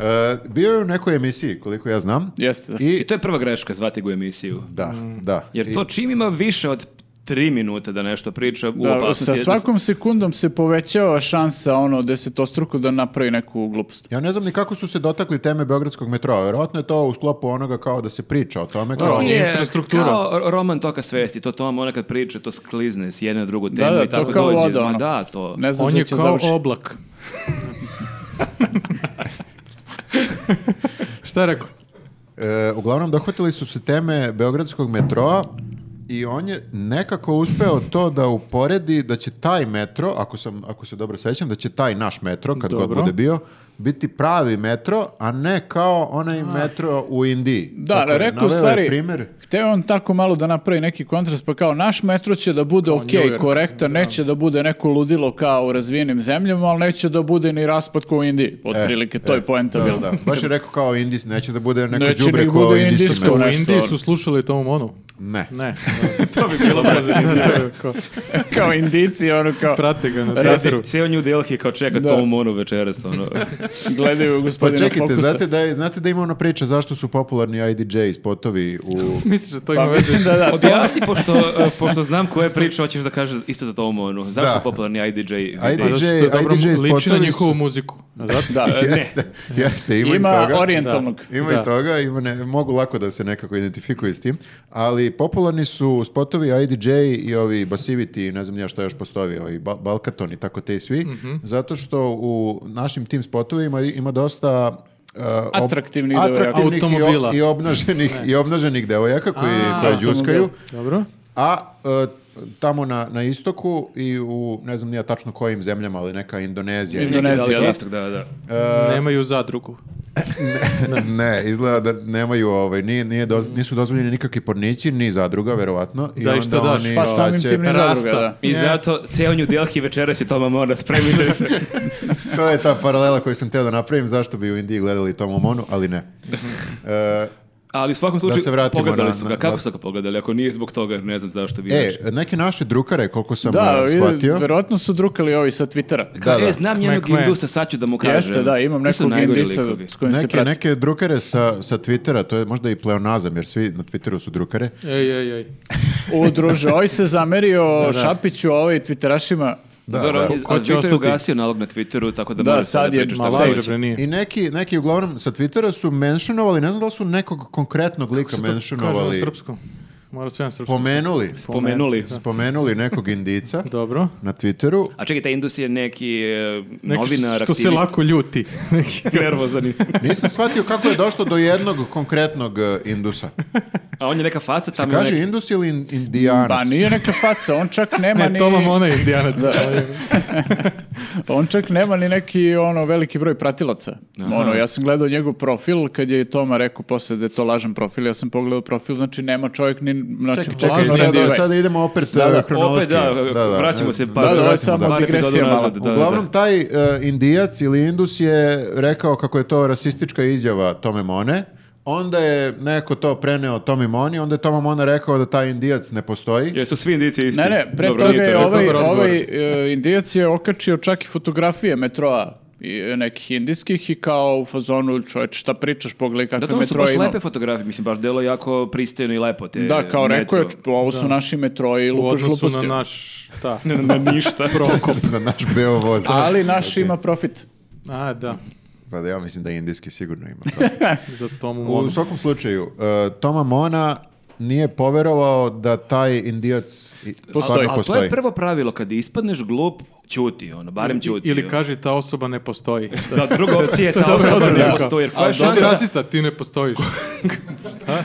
E, bio je u nekoj emisiji, koliko ja znam.
Jeste, da.
I,
I to je prva greška, zvati ga u emisiju.
da, da.
Jer
I-
to čim ima više od tri minute da nešto priča, u
Da,
opasnosti
sa
je-
svakom sekundom se povećava šansa ono desetostruko da napravi neku glupost.
Ja ne znam ni kako su se dotakli teme Beogradskog metroa. Verovatno je to u sklopu onoga kao da se priča o tome.
To
Kao,
ti
Dobro.
je
infrastruktura.
kao roman toka svesti, to Toma ona kad priča, to sklizne s jedne na drugu temu
Da, da,
i tako
to kao
dođe.
voda,
Ma
ono.
da, to.
Ne znam
On
gdje
je
će
kao
završiti.
oblak. Šta je rekao?
e, uglavnom, dohvatili su se teme Beogradskog metroa i on je nekako uspeo to da uporedi da će taj metro, ako, sam, ako se dobro sećam, da će taj naš metro, kad god
Dobro.
bude bio, biti pravi metro, a ne kao onaj metro u Indiji.
Ah. Da,
Tako je,
rekao u
naveo je
stvari,
primer.
Hteo je on tako malo da napravi neki kontrast, pa kao naš metro će da bude ok,
New York,
korektan, neće da bude neko ludilo kao u razvijenim zemljama, ali neće da bude ni raspad kao u Indiji, otprilike, to je poenta
Eh, E, Da,
bila.
da. Baš je rekao kao Indis, neće da bude neko
Neće
đubre
nek
kao
bude
indijski
indijsko,
metro.
U
nešto,
Indiji
ono.
su slušali tomu onu.
Ne.
Ne.
to bi bilo baš zanimljivo.
Kao,
kao indici, ono kao
Prate ga na
Radi-
Twitteru.
Cijel New Delhi kao čeka
Da.
Tomu Monu večeras, ono.
gledaju
Pa
gospodina
čekajte,
Fokusa.
znate da, je- znate da ima ona priča zašto su popularni IDJ spotovi u...
Misliš da to ima
Pa
veze?
mislim da da.
Objasni, pošto, eh, pošto znam koje priče, hoćeš da kažeš isto za Tomu Monu. Zašto
Da.
je popularni IDJ?
Ajde.
Pa zato što
IDJ
dobro mu- liči na
spotovi su-
njihovu muziku. A zato-
Da,
E, Ne,
Jeste, jeste, ima, i
ima
toga.
orijentalnog.
Ima i
Da.
toga, ima ne, mogu lako da se nekako identifikuju s tim, ali ali popularni su spotovi IDJ i ovi Basivity i ne znam ja šta još postoji, ovi Ba- Balkaton i tako te i svi, zato što u našim tim spotovima ima dosta uh, ob-
Atraktivnih devojaka.
atraktivnih i, ob-
Automobila.
i obnaženih i obnaženih devojaka koji
A,
koje đuskaju.
Dobro.
A e, tamo na, na istoku i u, ne znam nija tačno kojim zemljama, ali neka Indonezija.
Indo- Indonezija,
Neki daleki
da.
istok, da, da.
E,
Nemaju zadrugu.
ne, izgleda da nemaju, ovaj, nije, nije doz- nisu dozvoljeni nikakvi pornići, ni zadruga, verovatno. I
Da, i
onda
šta daš?
oni ovaj,
Pa samim
hoće-
tim ni
rasta.
zadruga, da.
I zato ceo New Delhi večeras je Toma Mona, spremite se.
To je ta paralela koju sam teo da napravim, zašto bi u Indiji gledali Tomu Monu, ali ne. E,
Ali u svakom slučaju,
se vratimo
pogledali
na-
su ga.
na-
Kako
na-
su ga pogledali? Ako nije zbog toga, ne znam zašto bi...
e, neke naše drukare, koliko sam
Da,
da,
i
shvatio,
verovatno su drukali ovi sa Twittera.
da, da.
E, znam jednog
Mac Mac.
Indusa, sad ću da mu kažem.
Jeste, da, imam
Ti su
nekog
najgori
indica
likovi.
s kojim se
neke,
pratim.
neke drukare sa, sa Twittera, to je možda i pleonazam, jer svi na Twitteru su drukare.
Ej, ej, ej.
U, druže, ovaj se zamerio Šapiću, ovaj Twitterašima.
Da,
Dobro,
da.
on je-
Ko
a
će
Twitter je
ostati?
ugasio nalog na Twitteru, tako da,
Da,
mora
sad
sad da
je
priča šta
Ma
sad-
hoće.
laže, bre, nije.
I neki, neki uglavnom sa Twittera su mentionovali, ne znam da li su nekog konkretnog lika
Kako se to Kaže na
mentionovali.
srpskom. Mora sve na srpskom.
Pomenuli,
Pomenuli.
spomenuli nekog indica
Dobro.
na Twitteru.
A čekaj, taj Indus je neki e,
Neki
novinar,
što se lako ljuti.
nervozan.
Nisam shvatio kako je došlo do jednog konkretnog e, indusa.
A on je neka faca tamo.
Kaže
neki-
indus ili in- indijanac?
Pa nije neka faca, on čak nema
ne,
ni...
Toma Mona je indijanac.
On čak nema ni neki ono veliki broj pratilaca. Ono, ja sam gledao njegov profil kad je Toma rekao posle da je to lažan profil. Ja sam pogledao profil, znači nema čovjek ni znači
Čekaj, čekaj,
Lažno
sad,
Indivac.
sad idemo opet
Da,
e,
da,
hronološki.
Opet da, vraćamo se pa- par,
da, se
ovo je
vratimo,
samo
da.
par epizoda
digresija
nazad, da,
mala.
da,
Uglavnom, taj e, indijac ili indus je rekao kako je to rasistička izjava Tome Mone, onda je neko to preneo Tomi Moni, onda je Toma Mona rekao da taj indijac ne postoji.
Jesu svi indici isti?
Ne, ne, pre
Dobro,
toga
nije
je
to tako.
ovaj,
dobar odgovor.
ovaj e, indijac je okačio čak i fotografije metroa i e, nekih indijskih i kao u fazonu čoveč šta pričaš, pogledaj
Da,
kakve
to su
metroje
baš
Dakle, ima.
lepe fotografije, mislim, baš delo jako pristojno i lepo. Te
Da,
metro.
kao
Pa,
rekao je, "Ču, ovo su naši metroji i
U
lupaš
odnosu na
gluposti.
naš... Šta?
Ne, ne, ne, ništa.
Prokop.
Na naš beo voz.
Ali naš ima profit.
A, da.
Pa da ja mislim da indijski sigurno ima.
Za Tomu
U
Monu.
svakom slučaju, e, Toma Mona nije poverovao da taj indijac i- stvarno
Ali to
postoji.
je prvo pravilo, kad ispadneš glup, ćuti, ono, barem ćuti.
Ili kaži ta osoba ne postoji.
Da, druga opcija je ta osoba ne postoji, jer koja je
Što si
šansa da-
rasista, ti ne postojiš.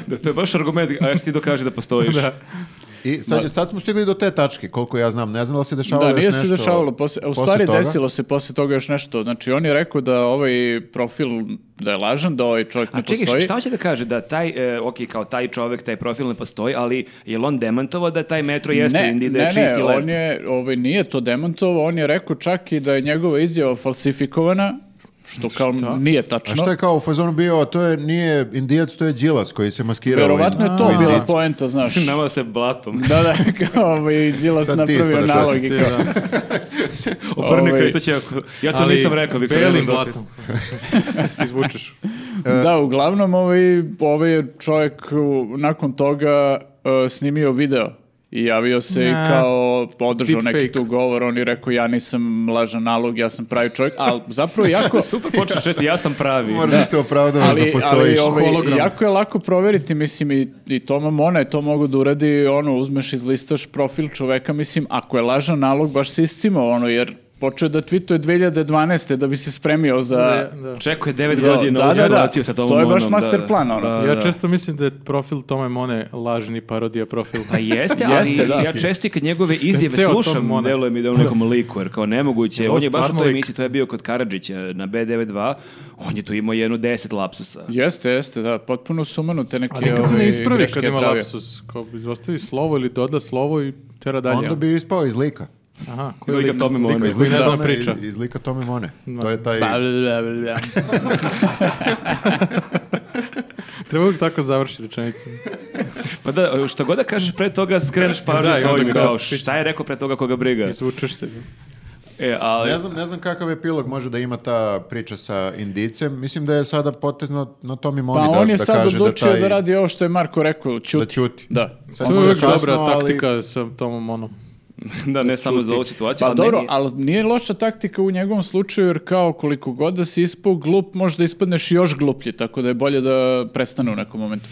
Da, to je baš argument, a jesi ti dokaže da postojiš.
Da.
I sad, je- sad smo stigli do te tačke, koliko ja znam. Ne znam da li se dešavalo
Da,
još
nije
nešto.
se dešavalo. Posle, a u
posle
stvari
toga?
desilo se posle toga još nešto. Znači, on je rekao da ovaj profil, da je lažan, da ovaj čovjek
A
ne
čekaj,
postoji.
šta hoće da kaže? Da taj, e, ok, kao taj čovek, taj profil ne postoji, ali je li on demantovao da taj metro jeste
ne,
Indi, da je
ne,
čisti
ne,
lep?
on je, ovaj, nije to demantovao, on je rekao čak i da je njegova izjava falsifikovana, što kao nije
A
tačno.
šta je kao u fazonu bio, to je, nije indijac, to je džilas koji se maskirao.
Verovatno
u
je
Ind-
to
u
bila
Indijca.
poenta, znaš.
Nama se blatom.
Da, da, kao ovaj Đilas
Sad ti
napravio
ispadaš
nalog
rasist,
i
Ti,
kao,
da.
Obrni
Ovaj,
Krstić, ako- ja to
Ali
nisam rekao, Viktor.
Belim
Jonas Dokis.
blatom. Se izvučeš.
Da, uglavnom ovaj, ovaj je čovjek u- nakon toga e, snimio video i javio se i
Ne.
kao podržao neki
Deepfake.
tu govor, on je rekao ja nisam lažan nalog, ja sam pravi čovjek, ali zapravo jako...
Super počneš reći, ja sam pravi.
Moraš da se opravdavaš da
Ali, ali
postojiš.
ovaj,
Hologram.
jako je lako proveriti, mislim, i, i Toma Mona je to mogu da uradi, ono, uzmeš, izlistaš profil čoveka, mislim, ako je lažan nalog, baš se iscimao, ono, jer počeo je da tweetuje 2012. da bi se spremio za...
Da.
Čekuje 9
Da,
godina
da,
ovu
da, da.
situaciju sa tom
To je baš
Monom, da,
master
da.
plan, ono.
Da, da.
Ja često mislim da je profil Tome Mone lažni parodija profil.
Pa jeste, ali
Jeste, da.
ja često i kad njegove izjave
Ceo Tom
slušam,
Mona.
deluje mi da je u nekom liku, jer kao nemoguće,
Je,
on
on
je baš u
stvarno
toj
lik.
emisiji, to je bio kod Karadžića na B92, on je tu imao jednu 10 lapsusa.
Jeste, jeste, da, potpuno sumano te neke
A nikad se ne
ovaj,
ispravi
greške
kad
je
ima
pravio.
lapsus. Kao izostavi slovo ili doda slovo i tera dalje.
Onda bi ispao iz lika.
Aha, ko je
Slika
lik?
Tome Mone.
Pa iz
Koji
lika
ne zna
Tome-
priča.
iz lika Tome Mone. To je
pa,
taj...
Bla, bla, bla, bla. Treba bi tako završi rečenicu.
Pa da, šta god da kažeš pre toga, skreneš pažnju
Da, i
sa
onda
ovim,
kao,
kao, šta je rekao pre toga koga briga.
Izvučeš se.
E, ali,
Ne znam, ne znam kakav epilog može da ima ta priča sa Indijcem. Mislim da je sada potezno na Tomi Moni
Pa
da,
on je
da
sad
kaže da,
odlučio da,
taj,
radi ovo što je Marko rekao, ćuti.
da ćuti.
Da.
Sad
To
mu se
je uvijek
kasno,
dobra
ali-
taktika sa Tomom Monom.
da, ne samo za ovu situaciju,
Pa
ali
dobro,
meni-
ali nije loša taktika u njegovom slučaju, jer kao koliko god da si ispao glup, možda ispadneš još gluplji, tako da je bolje da prestane u nekom momentu.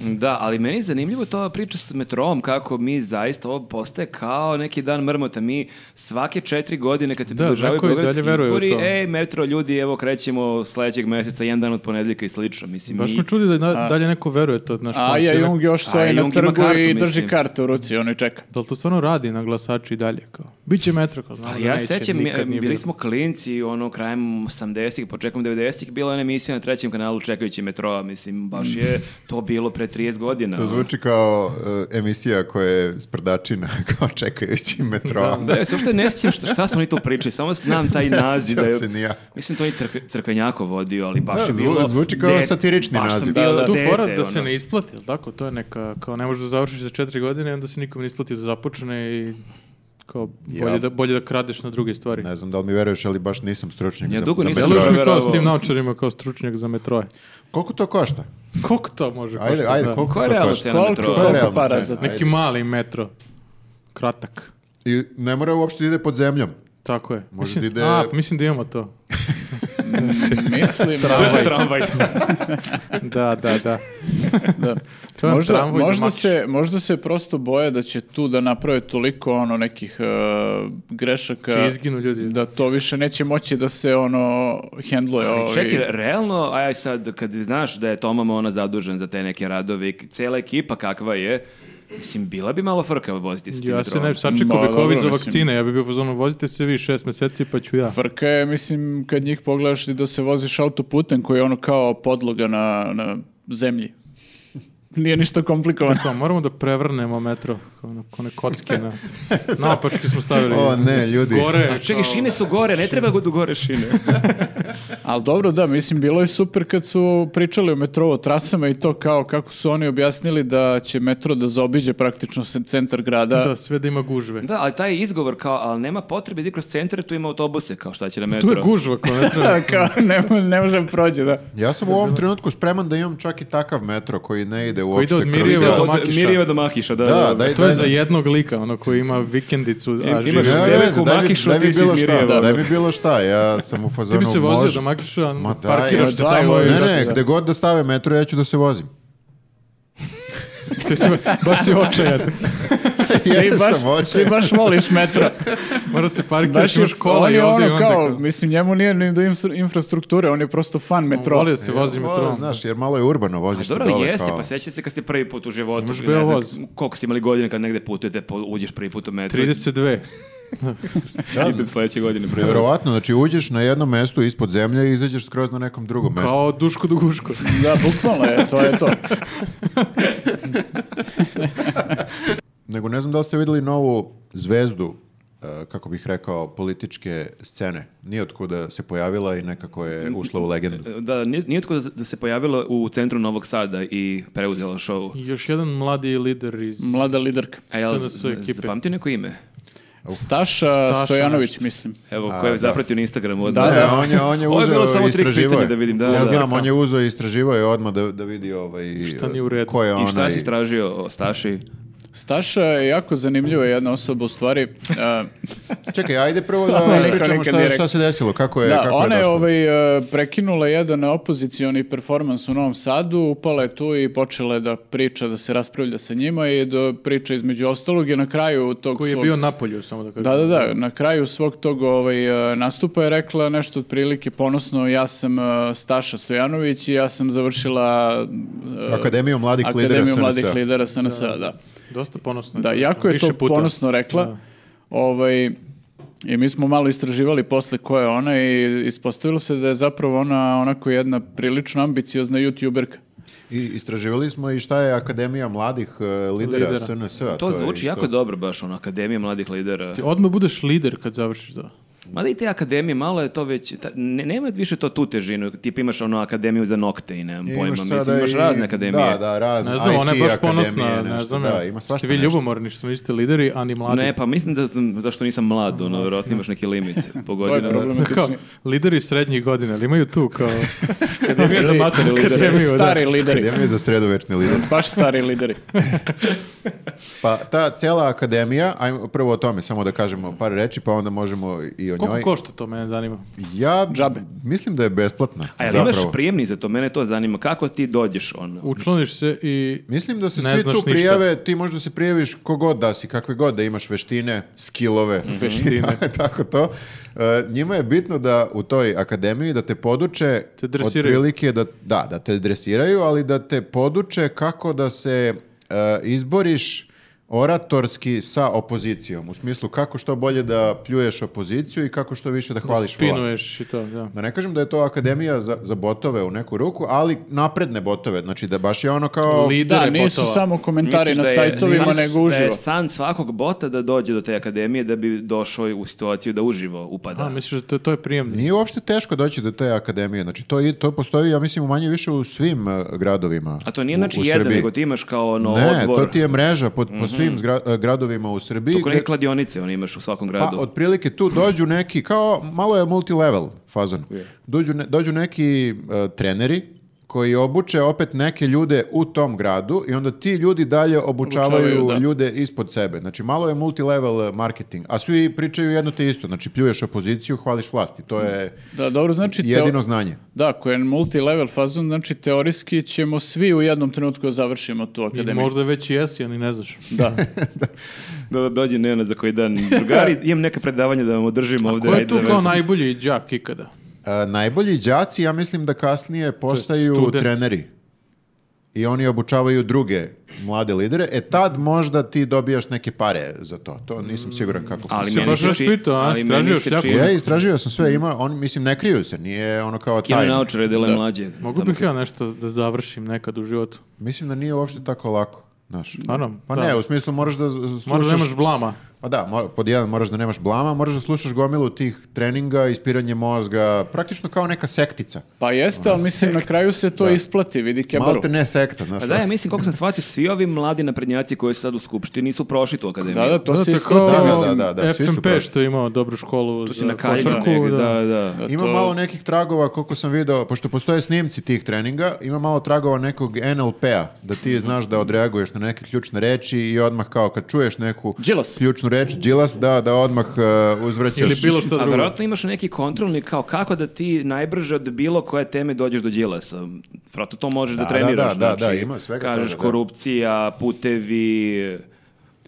Da, ali meni je zanimljivo to priča s metrovom, kako mi zaista ovo postaje kao neki dan mrmota. Mi svake četiri godine kad se
Da,
približavaju
neko i
beogradski
dalje veruje u
izbori,
to.
ej, metro, ljudi, evo krećemo sledećeg meseca, jedan dan od ponedjeljka i slično. Mislim,
Baš
mi-
me čudi da na- dalje neko veruje to.
Pa
Znaš, kao
A ja
sve
Jung još stoji
A,
na
Jung ima
trgu
kartu,
i drži
mislim.
kartu u ruci, ono i čeka.
Da li to stvarno radi na glasači i dalje? Kao? Biće metro. Kao, znam
Ali
da
ja
neće,
sećam,
nikad
mi- bili
nije bilo.
smo klinci, ono, krajem 80-ih, početkom 90-ih, bila je ona emisija na trećem kanalu Čekajući metroa, mislim, baš
Mm.
je to bilo pre 30 godina.
To zvuči kao e, emisija koja je sprdačina, kao čekajući metro.
Da, ja se uopšte ne sjećam šta, šta smo oni tu pričali, samo znam taj naziv.
sjećam
da je,
se ni ja.
Mislim, to je Crk- Crkvenjako vodio, ali baš
Da,
je
zvu-
bilo...
zvuči kao satirični
baš sam
naziv.
bio
Da, da.
Pa Tu
dete,
fora da se
ono.
ne isplati, jel tako? To je neka, kao ne možeš da završiš za četiri godine i onda se nikom ne isplati da započne i kao bolje,
Ja.
da, bolje da kradeš na druge stvari.
Ne znam da li mi veruješ, ali baš nisam stručnjak
Ja
za,
dugo
za
nisam
metroje.
Deluješ mi kao
Verovao.
s tim naučarima, kao stručnjak za metroje.
Koliko to košta?
Koliko to može
Ajde,
koštati,
ajde,
da?
koliko
Koja je
to
realna
košta?
cena
Koliko?
metroa?
Koja je realna
para
cena?
za-
Ajde.
Neki mali metro. Kratak.
I ne mora uopšte da ide pod zemljom.
Tako je.
Može
mislim,
da ide-
A, pa mislim da imamo to.
Pa
Mislim,
To je za tramvaj.
Da, da, da.
da.
Treba nam
Možda,
tramvaj da
možda,
mačiš.
se, možda se prosto boje da će tu da naprave toliko ono nekih e, grešaka
Će izginu ljudi.
da to više neće moći da se ono hendluje
Ali
ovi-
Čekaj, realno, aj sad, kad znaš da je Toma Mona zadužen za te neke radove i cela ekipa kakva je, mislim, bila bi malo frka voziti se tim
Ja se
metroom.
ne sačekao
Ma,
bi kovi
dobro,
za
mislim.
vakcine, ja bih bio u fazonu, vozite se vi šest meseci pa ću ja.
Frka je, mislim, kad njih pogledaš i da se voziš autoputem koji je ono kao podloga na, na zemlji. Nije ništa komplikovano.
Kao, moramo da prevrnemo metro, kao na one kocke na... Napački smo stavili.
O ne, ljudi.
Gore,
A čekaj, šine su gore, ne treba god u gore šine.
Ali dobro, da, mislim, bilo je super kad su pričali o metrovo trasama i to kao kako su oni objasnili da će metro da zaobiđe praktično se- centar grada.
Da, sve da ima gužve.
Da, ali taj izgovor kao, ali nema potrebe da ide kroz centar, tu ima autobuse, kao šta će na metro.
Pa Tu je gužva kao metro.
Da, kao, ne, mo- ne možem prođe, da.
Ja sam u ovom trenutku spreman da imam čak i takav metro koji ne ide uopšte
ide od
kroz
Ide
Mirijeva
grad.
do
od
Makiša.
Mirijeva do Makiša, da.
Da,
da.
daj,
To je
daj,
za
daj.
jednog lika, ono koji ima vikendicu,
Ima-
a živi.
imaš-
Ja,
Ja,
ja,
Devojku
ja, daj mi-
Makišu,
daj mi
ti si iz
bilo šta,
Mirijeva.
daj mi bilo šta, ja sam u
Ti
fazonu
bi se vozio
ono, može-
do Makiša,
Ma daj,
parkiraš se
evo, daj,
tamo i...
ovo-
Ne,
Da,
ne,
da.
gde god da stave metro, ja ću da se vozim.
Ti si, baš si očajan.
Ti
ja
baš,
sam očajan.
ti baš voliš metro.
Mora se
Baš
parkiraš,
je,
imaš kola
on
i
je
ovdje i
ono
onda.
kao,
Kao,
mislim, njemu nije ni do infra- infrastrukture, on je prosto fan metro.
Voli da se vozi
O,
metrom.
Znaš, jer malo je urbano,
A
voziš se
dobro,
dole.
ali jeste,
kao-
pa sjećate se kad ste prvi put u životu,
Imaš
ne znam
beovoz.
koliko ste imali godine kad negde putujete, po- uđeš prvi put u metro.
32.
Da,
Idem sledeće godine. prvi.
Nevjerovatno, znači uđeš na jednom mestu ispod zemlje i izađeš skroz na nekom drugom mestu.
Kao Duško Duguško.
Da, bukvalno je, to je to.
Nego ne znam da li ste vidjeli novu zvezdu, e, kako bih rekao, političke scene. Nije otkuda se pojavila i nekako je ušla u legendu.
Da, nije, nije tko da se pojavilo u centru Novog Sada i preuzela show.
Još jedan mladi lider iz...
Mlada liderka.
A E, jel
SNS
z-
ekipe.
zapamtio neko ime?
Staša,
Staša
Stojanović,
nešto.
mislim.
Evo, ko je zapratio na Instagramu od
Da,
Ne,
da.
on je, on je
Ovo je
uzeo
bilo samo trik
istraživo
pitanja
je.
da vidim, da,
ja
da.
znam, on je uzeo i istraživo je odmah da, da vidi ovaj,
Šta nije u redu.
ko je onaj.
I šta si istražio o Staši?
Staša je jako zanimljiva jedna osoba, u stvari. e, a,
Čekaj, ajde prvo
Ovo
da
je
ispričamo
nikad
šta,
nije
šta
rekao.
se desilo, kako je,
da,
kako
ona
je
je
došlo.
ovaj, e, prekinula jedan opozicioni performans u Novom Sadu, upala je tu i počela je da priča, da se raspravlja sa njima i da priča između ostalog je na kraju tog
Koji je
svog-
bio na polju, samo da kažem.
Da, da, da, na kraju svog tog ovaj, e, nastupa je rekla nešto otprilike ponosno, ja sam e, Staša Stojanović i ja sam završila e,
Akademiju mladih lidera
Akademiju mladih
SNS-a.
lidera SNS, da.
Dosta ponosno.
Da, jako je
Više
to
puta.
ponosno rekla.
Da.
Ovaj, I mi smo malo istraživali posle ko je ona i ispostavilo se da je zapravo ona onako jedna prilično ambiciozna youtuberka.
I istraživali smo i šta je Akademija mladih e, lidera,
Lidera.
SNS-a.
To
je
zvuči
isto-
jako dobro baš, ono, Akademija mladih lidera.
Ti odmah budeš lider kad završiš to.
Mada i te akademije, malo je to već, ta, ne, nema više to tu težinu, tipa imaš ono akademiju za nokte i
I
nemam pojma,
imaš
mislim,
sada
imaš
i-
razne akademije.
Da, da, razne.
Ne znam,
IT
ona je baš
akademije,
ponosna, ne
nešto,
znam.
Da,
ja.
ima svašta
Ste vi
nešto.
ljubomorni što niste lideri, a ni mladi.
Ne, pa mislim da sam, zašto nisam mlad, ono, vjerojatno imaš neki limit po
To je
godinama.
Kao,
problematično.
lideri srednjih godina, ali imaju tu kao...
Akademija za matere lidere.
Akademija, da.
Stari lideri,
Akademija za sredovečne lidere.
baš stari lideri.
Pa ta cijela akademija, ajmo prvo o tome samo da kažemo par reči, pa onda možemo i o njoj.
Koliko košta to, mene zanima.
Ja
Džabe.
mislim da je besplatna.
A jel
zapravo.
imaš prijemni za to? Mene to zanima. Kako ti dođeš ono?
Učlaniš se i...
Mislim da se
Ne
svi
znaš
tu
ništa.
prijave, ti možda se prijaviš kogod da si, kakve god da imaš veštine, skillove,
Mhm. Veštine.
tako to. E, njima je bitno da u toj akademiji da te poduče
Te dresiraju.
otprilike da, da, da te dresiraju, ali da te poduče kako da se e, izboriš oratorski sa opozicijom. U smislu kako što bolje da pljuješ opoziciju i kako što više da hvališ vlast.
Spinuješ i to, da.
Da ne kažem da je to akademija za, za botove u neku ruku, ali napredne botove. Znači da baš je ono kao...
Lidere
Da, nisu
botova.
samo komentari
Misliš
na
da je
sajtovima,
san-
nego
Da
uživo.
je san svakog bota da dođe do te akademije da bi došao u situaciju da uživo upada.
A, misliš da to, to je prijemni?
Nije uopšte teško doći do te akademije. Znači, to, i- to postoji, ja mislim, manje više u svim e, gradovima.
A to nije
u-
znači
u
jedan,
Srbiji.
nego ti imaš kao ono
Ne,
odbor. Mhm.
to ti je mreža po, po svim zgra- e, gradovima u Srbiji.
Kako
gde-
neke kladionice on imaš u svakom
pa,
gradu.
otprilike tu dođu neki, kao, malo je multilevel fazon. Dođu, ne- dođu neki e, treneri koji obuče opet neke ljude u tom gradu i onda ti ljudi dalje obučavaju,
Obučavaju, da.
ljude ispod sebe. Znači, malo je multilevel e, marketing. A svi pričaju jedno te isto. Znači, pljuješ opoziciju, hvališ vlasti. To
Mhm.
je
Da, dobro, znači... teo-
jedino znanje.
Da, koji je multi-level fazon, znači teorijski ćemo svi u jednom trenutku da završimo tu
I
akademiju.
možda već i jesi, ali ne znaš.
Da.
Da, da dođe Nena za koji dan. Drugari, imam neka predavanja da vam održim ovde.
Ko je
ajde
tu
da
kao
vas-
najbolji đak ikada?
E, najbolji đaci, ja mislim da kasnije postaju
student.
treneri. I oni obučavaju druge mlade lidere. E tad možda ti dobijaš neke pare za to. To nisam siguran kako
Ali
funkcioniše.
meni
baš
se čini,
raspitao, a?
ali meni
Istražio
se
šljaku.
čini.
Ja istražio sam sve, ima, on, mislim, ne kriju se, nije ono kao
Skinu
taj.
naočare, dele mlađe.
Mogu
Tamo
bih
kad
ja nešto da završim nekad u životu.
Mislim da nije uopšte tako lako. Znaš.
Naravno,
Pa
da.
ne, u smislu moraš da z- slušaš...
Možda nemaš blama.
Pa da, mora- pod jedan moraš da nemaš blama, moraš da slušaš gomilu tih treninga, ispiranje mozga, praktično kao neka sektica.
Pa jeste, ali mislim na kraju se to
Da.
isplati, vidi kebaru.
Malo te ne sekta, znaš.
Pa da, ja mislim, koliko sam shvatio, svi ovi mladi naprednjaci koji su sad u Skupštini nisu prošli tu akademiju.
Da, da, to
Da,
se
to je
isplati.
Da,
kao
da, da, da, da, svi su prošli.
FMP što je imao dobru školu
Tu si
za
na kaljima
košarku.
negde,
da.
da, da.
Ima
to-
malo nekih tragova, koliko sam video, pošto postoje snimci tih treninga, ima malo tragova nekog NLP-a, da ti znaš da odreaguješ na neke ključne reči i odmah kao kad čuješ neku
Đilas.
ključnu reč, džilas, da, da odmah uh, uzvraćaš.
Ili bilo što
A
drugo.
verovatno imaš neki kontrolni kao kako da ti najbrže od bilo koje teme dođeš do Đilasa. Vratno to možeš da,
Da, da,
treniraš.
da, da,
znači,
da, ima svega
Kažeš
toga, da.
korupcija, putevi,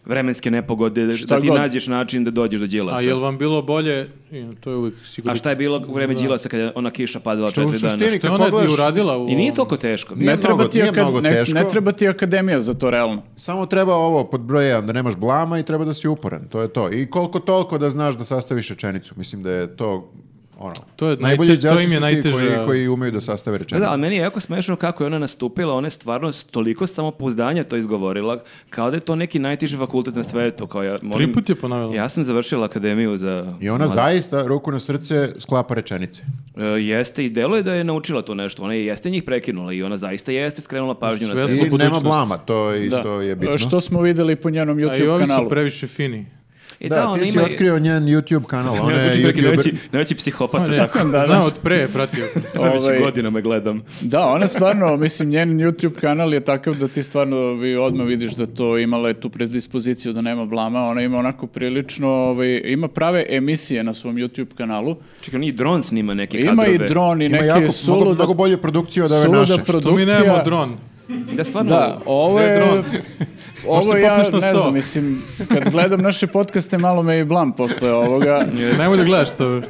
vremenske nepogode,
Šta
da ti
god.
nađeš način da dođeš do Đilasa.
A jel vam bilo bolje, i to je uvijek sigurno.
A šta je bilo u vreme Đilasa kad je ona kiša padala
Što u
četiri dana?
suštini-
Što je
Kad
ona ti
pogledaš-
uradila u...
I nije
ovom-
toliko teško.
Nije
Ne treba,
mnogo-
ti
nije
aka-
mnogo
ne-
teško.
ne treba ti akademija za to, realno.
Samo treba ovo pod broj 1, da nemaš blama i treba da si uporan, to je to. I koliko toliko da znaš da sastaviš rečenicu. Mislim da je to ono,
To je
najbolji
najte- to
đaci
im je
su ti
najteže.
koji, koji umeju da sastave
Da,
rečenicu.
da, ali meni je jako smešno kako je ona nastupila, ona je stvarno s toliko samopouzdanja to izgovorila, kao da je to neki najtiži fakultet na svetu. Kao ja, molim-
Tri put je ponavljala.
Ja sam završila akademiju za...
I ona zaista, ruku na srce, sklapa rečenice.
E, jeste i delo je da je naučila to nešto. Ona je jeste njih prekinula i ona zaista jeste skrenula pažnju na
Svetlo
sebe.
Svetla
I nema
budućnost.
blama, to je isto
Da.
je bitno.
Što smo videli po njenom
A i
YouTube
ovi su
kanalu.
previše fini.
E,
Da, ti si otkrio njen YouTube kanal, ona
Ja
je
ću neki
YouTuber.
najveći, najveći psihopata,
Ne,
tako.
da,
Znao
da.
od pre je pratio.
Najveći
Ovaj,
godinama gledam.
Da, ona stvarno, mislim, njen YouTube kanal je takav da ti stvarno vi odmah vidiš da to imala je tu predispoziciju da nema blama. Ona ima onako prilično, ovaj, ima prave emisije na svom YouTube kanalu.
Čekaj, on i dron snima neke
Ima
kadrove.
i dron i
Ima jako,
neke
mnogo,
suluda,
mnogo bolju produkciju od ove
suluda
naše.
To mi
produkcija.
nemamo dron.
Da, stvarno,
Da, ovo
Gde je
je...
dron? Možda
Ovo
se
ja,
popneš na
ne
sto.
znam, mislim, kad gledam naše podcaste, malo me i blam posle ovoga,
Nemoj da gledaš to.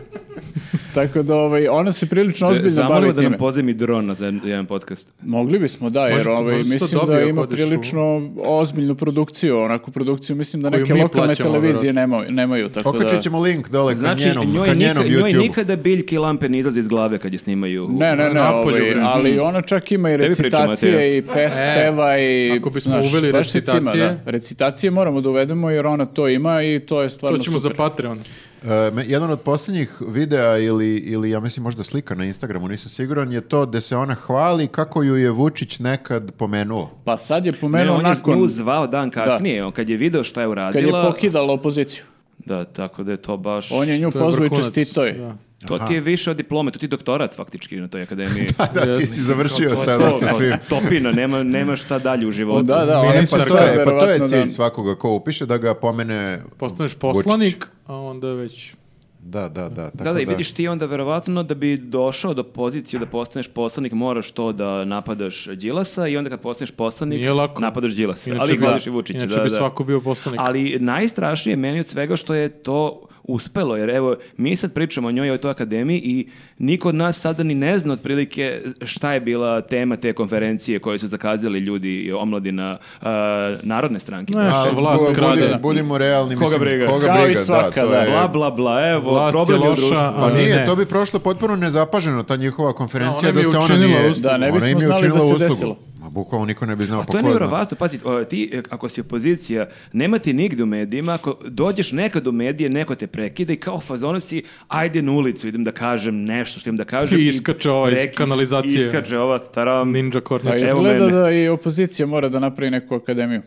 tako da ovaj, ona se prilično ozbiljno
Zamolio
bavi
da nam
time.
pozemi dron na jedan- jedan podcast.
Mogli bismo, da, jer
Možda-
ovaj,
možda to
mislim da
dobije ako
ima
odeš u-
prilično ozbiljnu produkciju, onako produkciju, mislim da
Koju
neke
mi
lokalne
plaćamo,
televizije nemaju, nemaju, tako da...
Okačit ćemo link dole
Znači,
ka Dakle, njenom,
njoj,
ka
nika-
njenom
njoj
YouTube-u.
nikada biljke i lampe ne izlaze iz glave kad je snimaju. u-
Ne, ne, ne,
Napolju,
ovaj,
bre.
ali ona čak ima i
Tebi pričam, Matejo.
recitacije i pes,
E,
peva i...
ako bismo
znaš,
uveli
baš se cima,
recitacije-
da. Recitacije moramo da uvedemo jer ona to ima i to je
To
stvarno
ćemo za
super.
Patreon.
E, me- jedan od posljednjih videa ili, ili ja mislim možda slika na Instagramu, nisam siguran, je to gde se ona hvali kako ju je Vučić nekad pomenuo.
Pa sad je
Ne,
pomenuo
on je
nakon...
nju zvao dan kasnije, on kad je video šta je
Kad je
uradila.
pokidala opoziciju.
Da, tako da je to baš...
On je nju
To je
pozvao i
vrhunac.
čestitao je.
Da.
To ti je više od diplome, to ti je doktorat faktički na toj akademiji.
Pa Da, ti si završio sada sa
To,
svim.
Topina, nema, nema šta dalje u životu.
da, da,
E,
oni su
pa, to
sad
je, pa to je
verovatno
cilj
da-
svakoga ko upiše da ga pomene
Postaneš
Vučić.
poslanik, a onda već...
Da, da, da. Tako
Da, da, i vidiš ti onda verovatno da bi došao do pozicije da postaneš poslanik, moraš to da napadaš Đilasa i onda kad postaneš poslanik,
Nije lako.
napadaš Đilasa.
Inače
Ali
bi-
hvališ i Vučića.
Inače
da,
bi
da.
svako bio poslanik.
Ali najstrašnije meni od svega što je to uspelo, jer evo, mi sad pričamo o njoj, o toj akademiji i niko od nas sada ni ne zna otprilike šta je bila tema te konferencije koje su zakazali ljudi i omladina a, Narodne stranke.
Ne, što vlast krade.
budimo realni,
Koga
mislim,
briga.
koga
Kao i
briga, da,
svaka,
to
da.
je-
Bla, bla, bla, evo,
Vlast je
problem je u
loša,
društvu.
Pa
Ali
nije,
ne.
to bi prošlo potpuno nezapaženo, ta njihova konferencija,
A ona
da
im je
se ona
učinila
nije...
uslugu.
Da, ne
ona
bismo
im je
znali
učinila
da se
uslugu.
desilo.
Ma bukvalo niko ne bi znao, pa
To je
ko zna.
nevjerovatno, pazi, o, ti e, ako si opozicija, nema ti nigde u medijima, ako dođeš nekad u medije, neko te prekida i kao u fazonu si, ajde na ulicu, idem da kažem nešto što imam da kažem.
I iskače ova iz kanalizacije.
Iskače ova, taram.
Ninja
Pa
Kornjača.
Evo
izgleda
mene.
da i opozicija mora da napravi neku akademiju.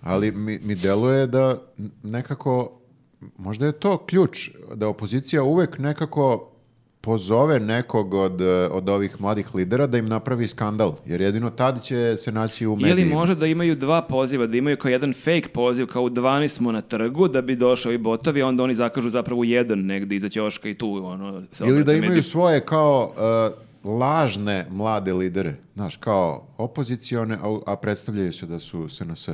Ali mi, mi deluje da nekako, možda je to ključ, da opozicija uvek nekako pozove nekog od, eh, od ovih mladih lidera da im napravi skandal, jer jedino tad će se naći u medijima.
Ili možda da imaju dva poziva, da imaju kao jedan fake poziv, kao u 12 smo na trgu, da bi došao i botovi, a onda oni zakažu zapravo jedan negde iza ćoška i tu ono, se
Ili da
obrate
imaju
mediji.
svoje kao eh, lažne mlade lidere, znaš, kao opozicione, a, a predstavljaju se da su SNS.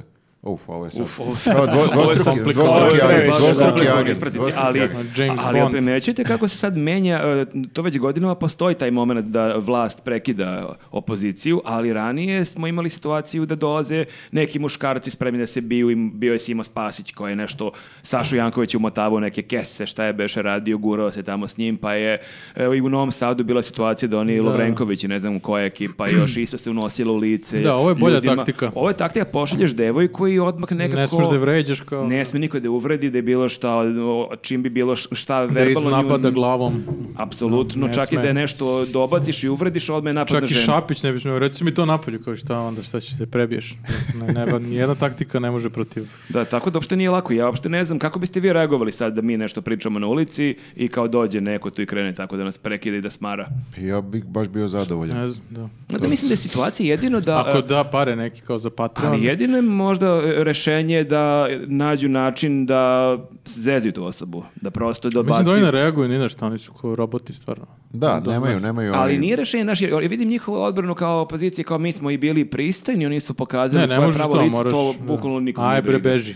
Uf, ovo je sad...
Uf, ovo sad-
Evo, dvo-
ovo je
dvostruki-
komplikovano,
dvostruki
ovo je
agent,
previše,
dvostruki
da, da,
agent,
ispratiti,
dvostruki
ali,
agent.
James
ali jel
Bond.
primećujete kako se sad menja, e, to već godinama postoji taj moment da vlast prekida opoziciju, ali ranije smo imali situaciju da dolaze neki muškarci spremni da se biju, i bio je Simo Spasić koji je nešto Sašu Janković umotavao u neke kese, šta je Beše radio, gurao se tamo s njim, pa je evo, i u Novom Sadu bila situacija da oni Lovrenković i ne znam koja ekipa još isto se unosila u lice.
Da, ovo je bolja
ljudima.
taktika.
Pa Ovo je taktika, pošalješ devojku i odmah nekako...
Ne smiješ da je vređaš kao...
Ne sme niko da je uvredi, da je bilo šta, o, čim bi bilo š- šta
da
verbalno... nju-
iznapada glavom.
Apsolutno,
Ne
čak i
sme.
da je nešto dobaciš i uvrediš, odme je napad
Čak
na
i
ženu.
Šapić ne bi smio, reci mi to napolju, kao šta onda, šta će te prebiješ. Ne, ne, nijedna taktika ne može protiv.
Da, tako da uopšte nije lako. Ja uopšte ne znam kako biste vi reagovali sad da mi nešto pričamo na ulici i kao dođe neko tu i krene tako da nas prekida i da smara.
Ja bih baš bio zadovoljan.
Ne znam, da.
Onda mislim da je situacija jedino da... e,
Ako da pare neki kao za Patreon.
Ali jedino je možda e, rešenje da nađu način da zeziju tu osobu, da prosto
Mislim
dobaci.
da oni ne reaguju ni na šta, oni su kao roboti stvarno.
Da, nemaju, nemaju.
Ali
oni-
nije rešenje, znaš, jer jer vidim njihovu odbranu kao opozicije, kao mi smo i bili pristojni, oni su pokazali
Ne, ne
svoje
može
pravo
to,
lice,
moraš.
to
da.
bukvalno nikom
Aj
ne
bre,
briga.
beži.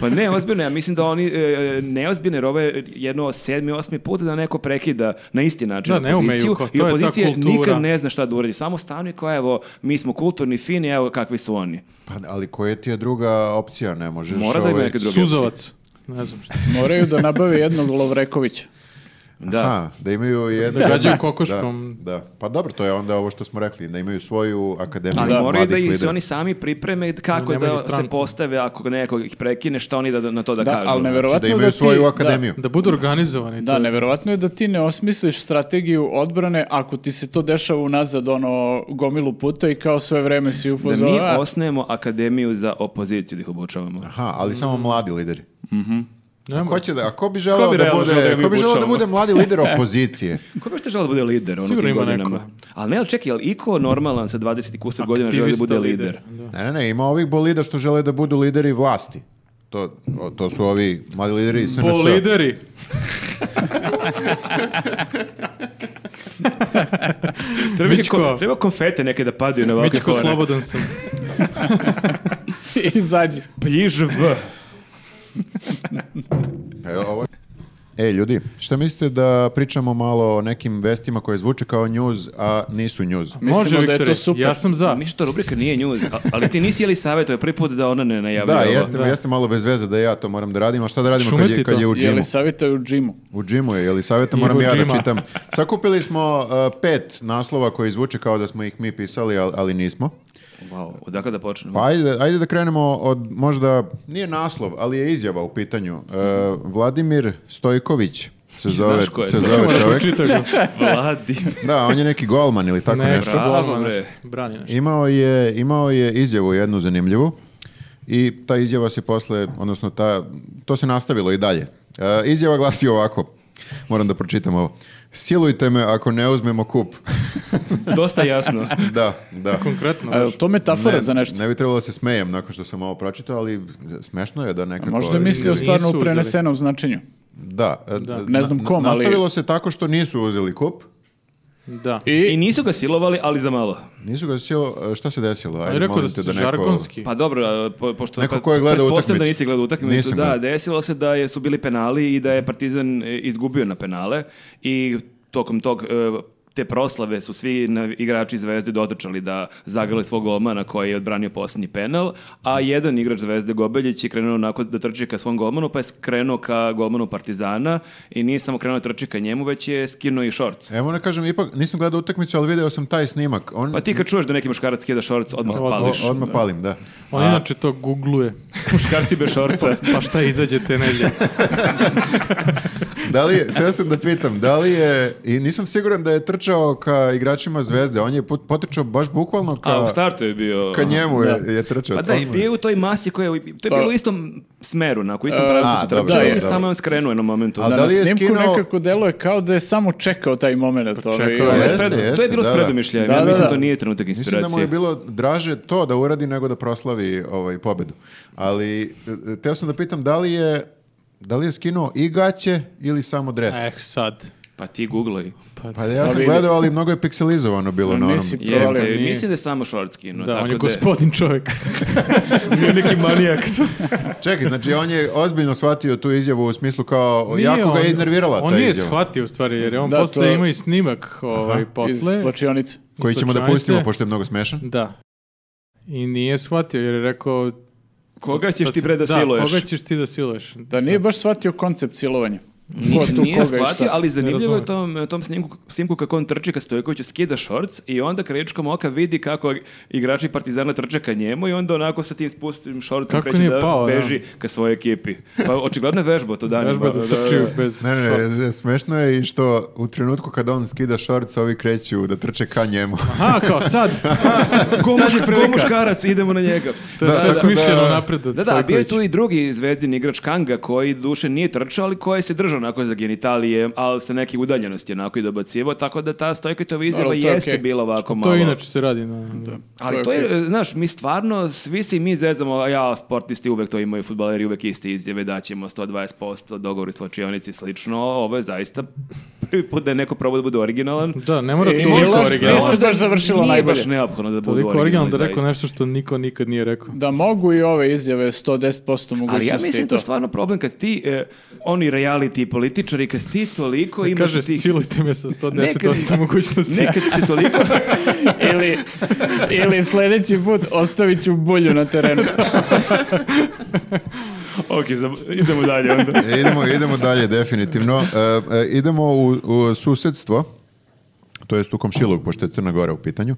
Pa ne, ozbiljno, ja mislim da oni e, neozbiljno, jer ovo je jedno sedmi, osmi put da neko prekida na isti način
Da, ne umeju,
opoziciju
kao,
i
to je ta
opozicija
kultura.
nikad ne zna šta da uradi. Samo stanu koja, evo, mi smo kulturni, fini, evo kakvi su oni.
Pa, ali koja ti je druga opcija, ne možeš...
Mora da ima
ovaj-
neke druge opcije.
Suzavac. Ne znam šta.
Moraju da nabave jednog Lovrekovića.
Da.
Aha, da imaju jednu...
Da gađaju kokoškom.
Da, da. Pa dobro, to je onda ovo što smo rekli, da imaju svoju akademiju
Ali moraju da
mladih
ih se
lidera. Znači,
oni sami pripreme kako
Nemaju
da se
stranku.
postave ako neko ih prekine, šta oni da, na to da,
Da,
kažu. ono.
ali
Znači,
neverovatno
da
je
imaju
da ti-
svoju
da,
akademiju.
Da budu organizovani.
Da,
to je-
neverovatno je da ti ne osmisliš strategiju odbrane ako ti se to dešava unazad ono gomilu puta i kao sve vreme si u
Da
fazonu,
mi
"A,
osnujemo akademiju za opoziciju da ih obučavamo.
Aha, ali samo mladi lideri.
Ne
Ko
može.
će da, a ko bi želeo
Mm. Ko bi
da
realno želeo da
bude,
mi
ko bi želeo da
obučavamo?
bude mladi lider opozicije?
Ko bi što želeo da bude lider ono u
Sigurno
tim
ima
godinama?
neko.
Ali ne, ali čekaj, je li iko normalan sa 20 i kusa godina želi da
Aktivista
bude lider?
Da.
Ne, ne, ne, ima ovih bolida što žele da budu lideri vlasti. To, o, to su ovi mladi lideri SNS.
Po lideri.
Treba,
Mičko.
ko- treba konfete neke da padaju na ovakve
Mičko,
fore.
slobodan sam.
izađi.
Bliž v.
E, ovo... E, ljudi, šta mislite da pričamo malo o nekim vestima koje zvuče kao news, a nisu news?
Mislimo
Može,
da je to
Viktore.
super.
Ja sam za.
Mislim, to rubrika nije news, a- ali ti nisi jeli savjet, to je prvi put da ona ne najavlja
Da,
ovo.
jeste,
da.
jeste malo bez veze da ja to moram da radim, a šta da radimo kad je,
Šumeti
kad je
to.
u
Je
džimu?
li savjetaju u džimu?
U džimu je, ili savjeta
Igu
moram ja da
džima.
čitam. Sakupili smo uh, pet naslova koji zvuče kao da smo ih mi pisali, al- ali nismo.
Wow, odakle da počnemo?
Pa ajde, ajde da krenemo od možda, nije naslov, ali je izjava u pitanju. Uh, Vladimir Stojković se zove,
Znaš ko je
se
to?
zove
Moram
čovjek.
pročitaj ga.
Pa.
Vladi.
Da, on je neki golman ili tako
Ne,
nešto.
što
Bravo,
golman,
bre.
nešto. Brani nešto.
Imao je, imao je izjavu jednu zanimljivu i ta izjava se posle, odnosno ta, to se nastavilo i dalje. E, izjava glasi ovako. Moram da pročitam ovo. Silujte me ako ne uzmemo kup.
Dosta jasno.
da, da.
Konkretno.
A je li to metafora za nešto?
ne bi trebalo da se smejem nakon što sam ovo pročitao, ali smešno je da nekako...
Možda je mislio
Nisu
stvarno u
uzeli.
prenesenom značenju.
Da. e,
Ne znam
na-
kom, ali-
Nastavilo se tako što nisu uzeli kup.
Da.
I
I
nisu ga silovali, ali za malo.
Nisu ga silo... e, Šta se desilo?
Ali rekao da
molim te
su
neko-
žargonski.
Pa dobro, a, po, pošto...
Neko
pa-
ko je gledao
pretpostavljam da
utakmicu.
nisi gledao utakmicu.
Nisam
da,
gledao.
desilo se da je, su bili penali i da je Partizan e, izgubio na penale i tokom tog e, te proslave su svi na- igrači Zvezde dotrčali da zagrle svog golmana koji je odbranio posljednji penal, a jedan igrač Zvezde Gobeljić je krenuo onako da trči ka svom golmanu, pa je krenuo ka golmanu Partizana i nije samo krenuo da trči ka njemu, već je skinuo i šorc.
Evo ne E, kažem, ipak nisam gledao utakmicu, ali video sam taj snimak. On...
Pa ti kad čuješ da neki muškarac skida šorc, odmah
O-
pališ.
odmah palim, da.
On inače to googluje.
Muškarci bez šorca.
Pa šta izađe te nedlje?
Da li je, teo sam da pitam, da li je, i nisam siguran da je trčao ka igračima Zvezde, on je put- potrčao baš bukvalno ka,
A u startu je bio...
ka njemu je, je trčao.
Pa da, i
tamo.
bio je u toj masi koja je, u- to je bilo u istom smeru, onako, u istom pravcu
Pa- a,
su
dobro,
trčali,
da,
i
dobro.
samo je on skrenuo na momentu.
Ali
da,
da
na
li je
snimku
skinuo-
nekako deluje kao da je samo čekao taj moment.
Pa čekao
ovaj,
je.
To je
Jeste,
spred- to
jeste,
je bilo
da, da.
spredomišljajem,
Da,
ja
da,
mislim
da.
to nije trenutak
Mislim
inspiracije.
da mu je bilo draže to da uradi nego da proslavi ovaj pobedu. Ali e, teo sam da pitam da li je da li je skinuo i gaće ili samo dres?
Eh, sad.
Pa ti googlaj.
Pa ja sam
vidi.
gledao, ali mnogo je pikselizovano bilo na onom.
Nisi
Jeste,
Provalio, nije.
mislim da je samo short skinuo.
Da,
tako
on je
da
gospodin čovjek.
Nije neki manijak.
Čekaj, znači on je ozbiljno shvatio tu izjavu u smislu kao jako ga je
on-
iznervirala
On
ta
nije
izjava.
shvatio u stvari, jer je on
Da,
posle
to-
imao i snimak ovaj,
iz
posle.
slačionice.
Koji ćemo da
slučajnice.
pustimo pošto je mnogo smešan.
Da. I nije shvatio jer je rekao...
Koga
sad-
ćeš
sad-
ti bre da
Da,
siluješ?
koga ćeš ti da siluješ?
Da nije baš shvatio koncept silovanja. Ko tu,
nije
koga i šta.
shvatio, ali zanimljivo je
razumem.
tom, tom snimku, snimku kako on trči ka Stojkoviću, skida šorc i onda krajičkom oka vidi kako igrači Partizana trče ka njemu i onda onako sa tim spustim šorcom
Kako
kreće
nije
da
pao, da.
beži ka svojoj ekipi. Pa očigledno je vežbao to danima.
Vežba da trči bez...
Ne, ne,
šorta.
ne, z- smešno je i što u trenutku kada on skida šorc, ovi kreću da trče ka njemu.
Aha, kao sad.
Ko,
Sad
muš-
je prilika.
ko muškarac, idemo na njega.
To je
Da, tako
sve
da-
smišljeno napred od
Da, da, bio je
Stojkovića.
tu i drugi zvezdin igrač Kanga koji duše nije trčao, ali koji se držao onako za genitalije, ali sa neke udaljenosti onako i dobacivao, tako da ta Stojkovićeva izjava
Ali to je
jeste
okej.
bila ovako malo.
To inače se radi na...
Ali to
To je
je, e, znaš, mi stvarno, svi se i mi zezamo, a ja, sportisti uvek to imaju, futbaleri uvek iste izjave, da ćemo 120%, dogovori slačionici i slično, ovo je zaista prvi put da je neko probao da bude originalan.
Da, ne
E,
mora
I-
toliko
i laž-
originalno.
Nisu baš završilo
Nije
najbolje.
baš neophodno da bude
Toliko originalno
originalan,
da rekao nešto što niko nikad nije rekao.
Da mogu i ove izjave 110% mogućnosti.
Ali ja mislim
i
da
to.
je stvarno problem kad ti, e, oni reality političari, kad ti toliko imaš
Kaže,
tih...
silujte me sa 110
Nekad-
dosta mogućnosti.
Nekad si toliko...
ili, ili sljedeći put ostavit ću bulju na terenu.
ok, za- idemo dalje onda.
E, idemo, idemo dalje, definitivno. E, e, idemo u, u susjedstvo, to jest u komšiluk, pošto je Crna Gora u pitanju.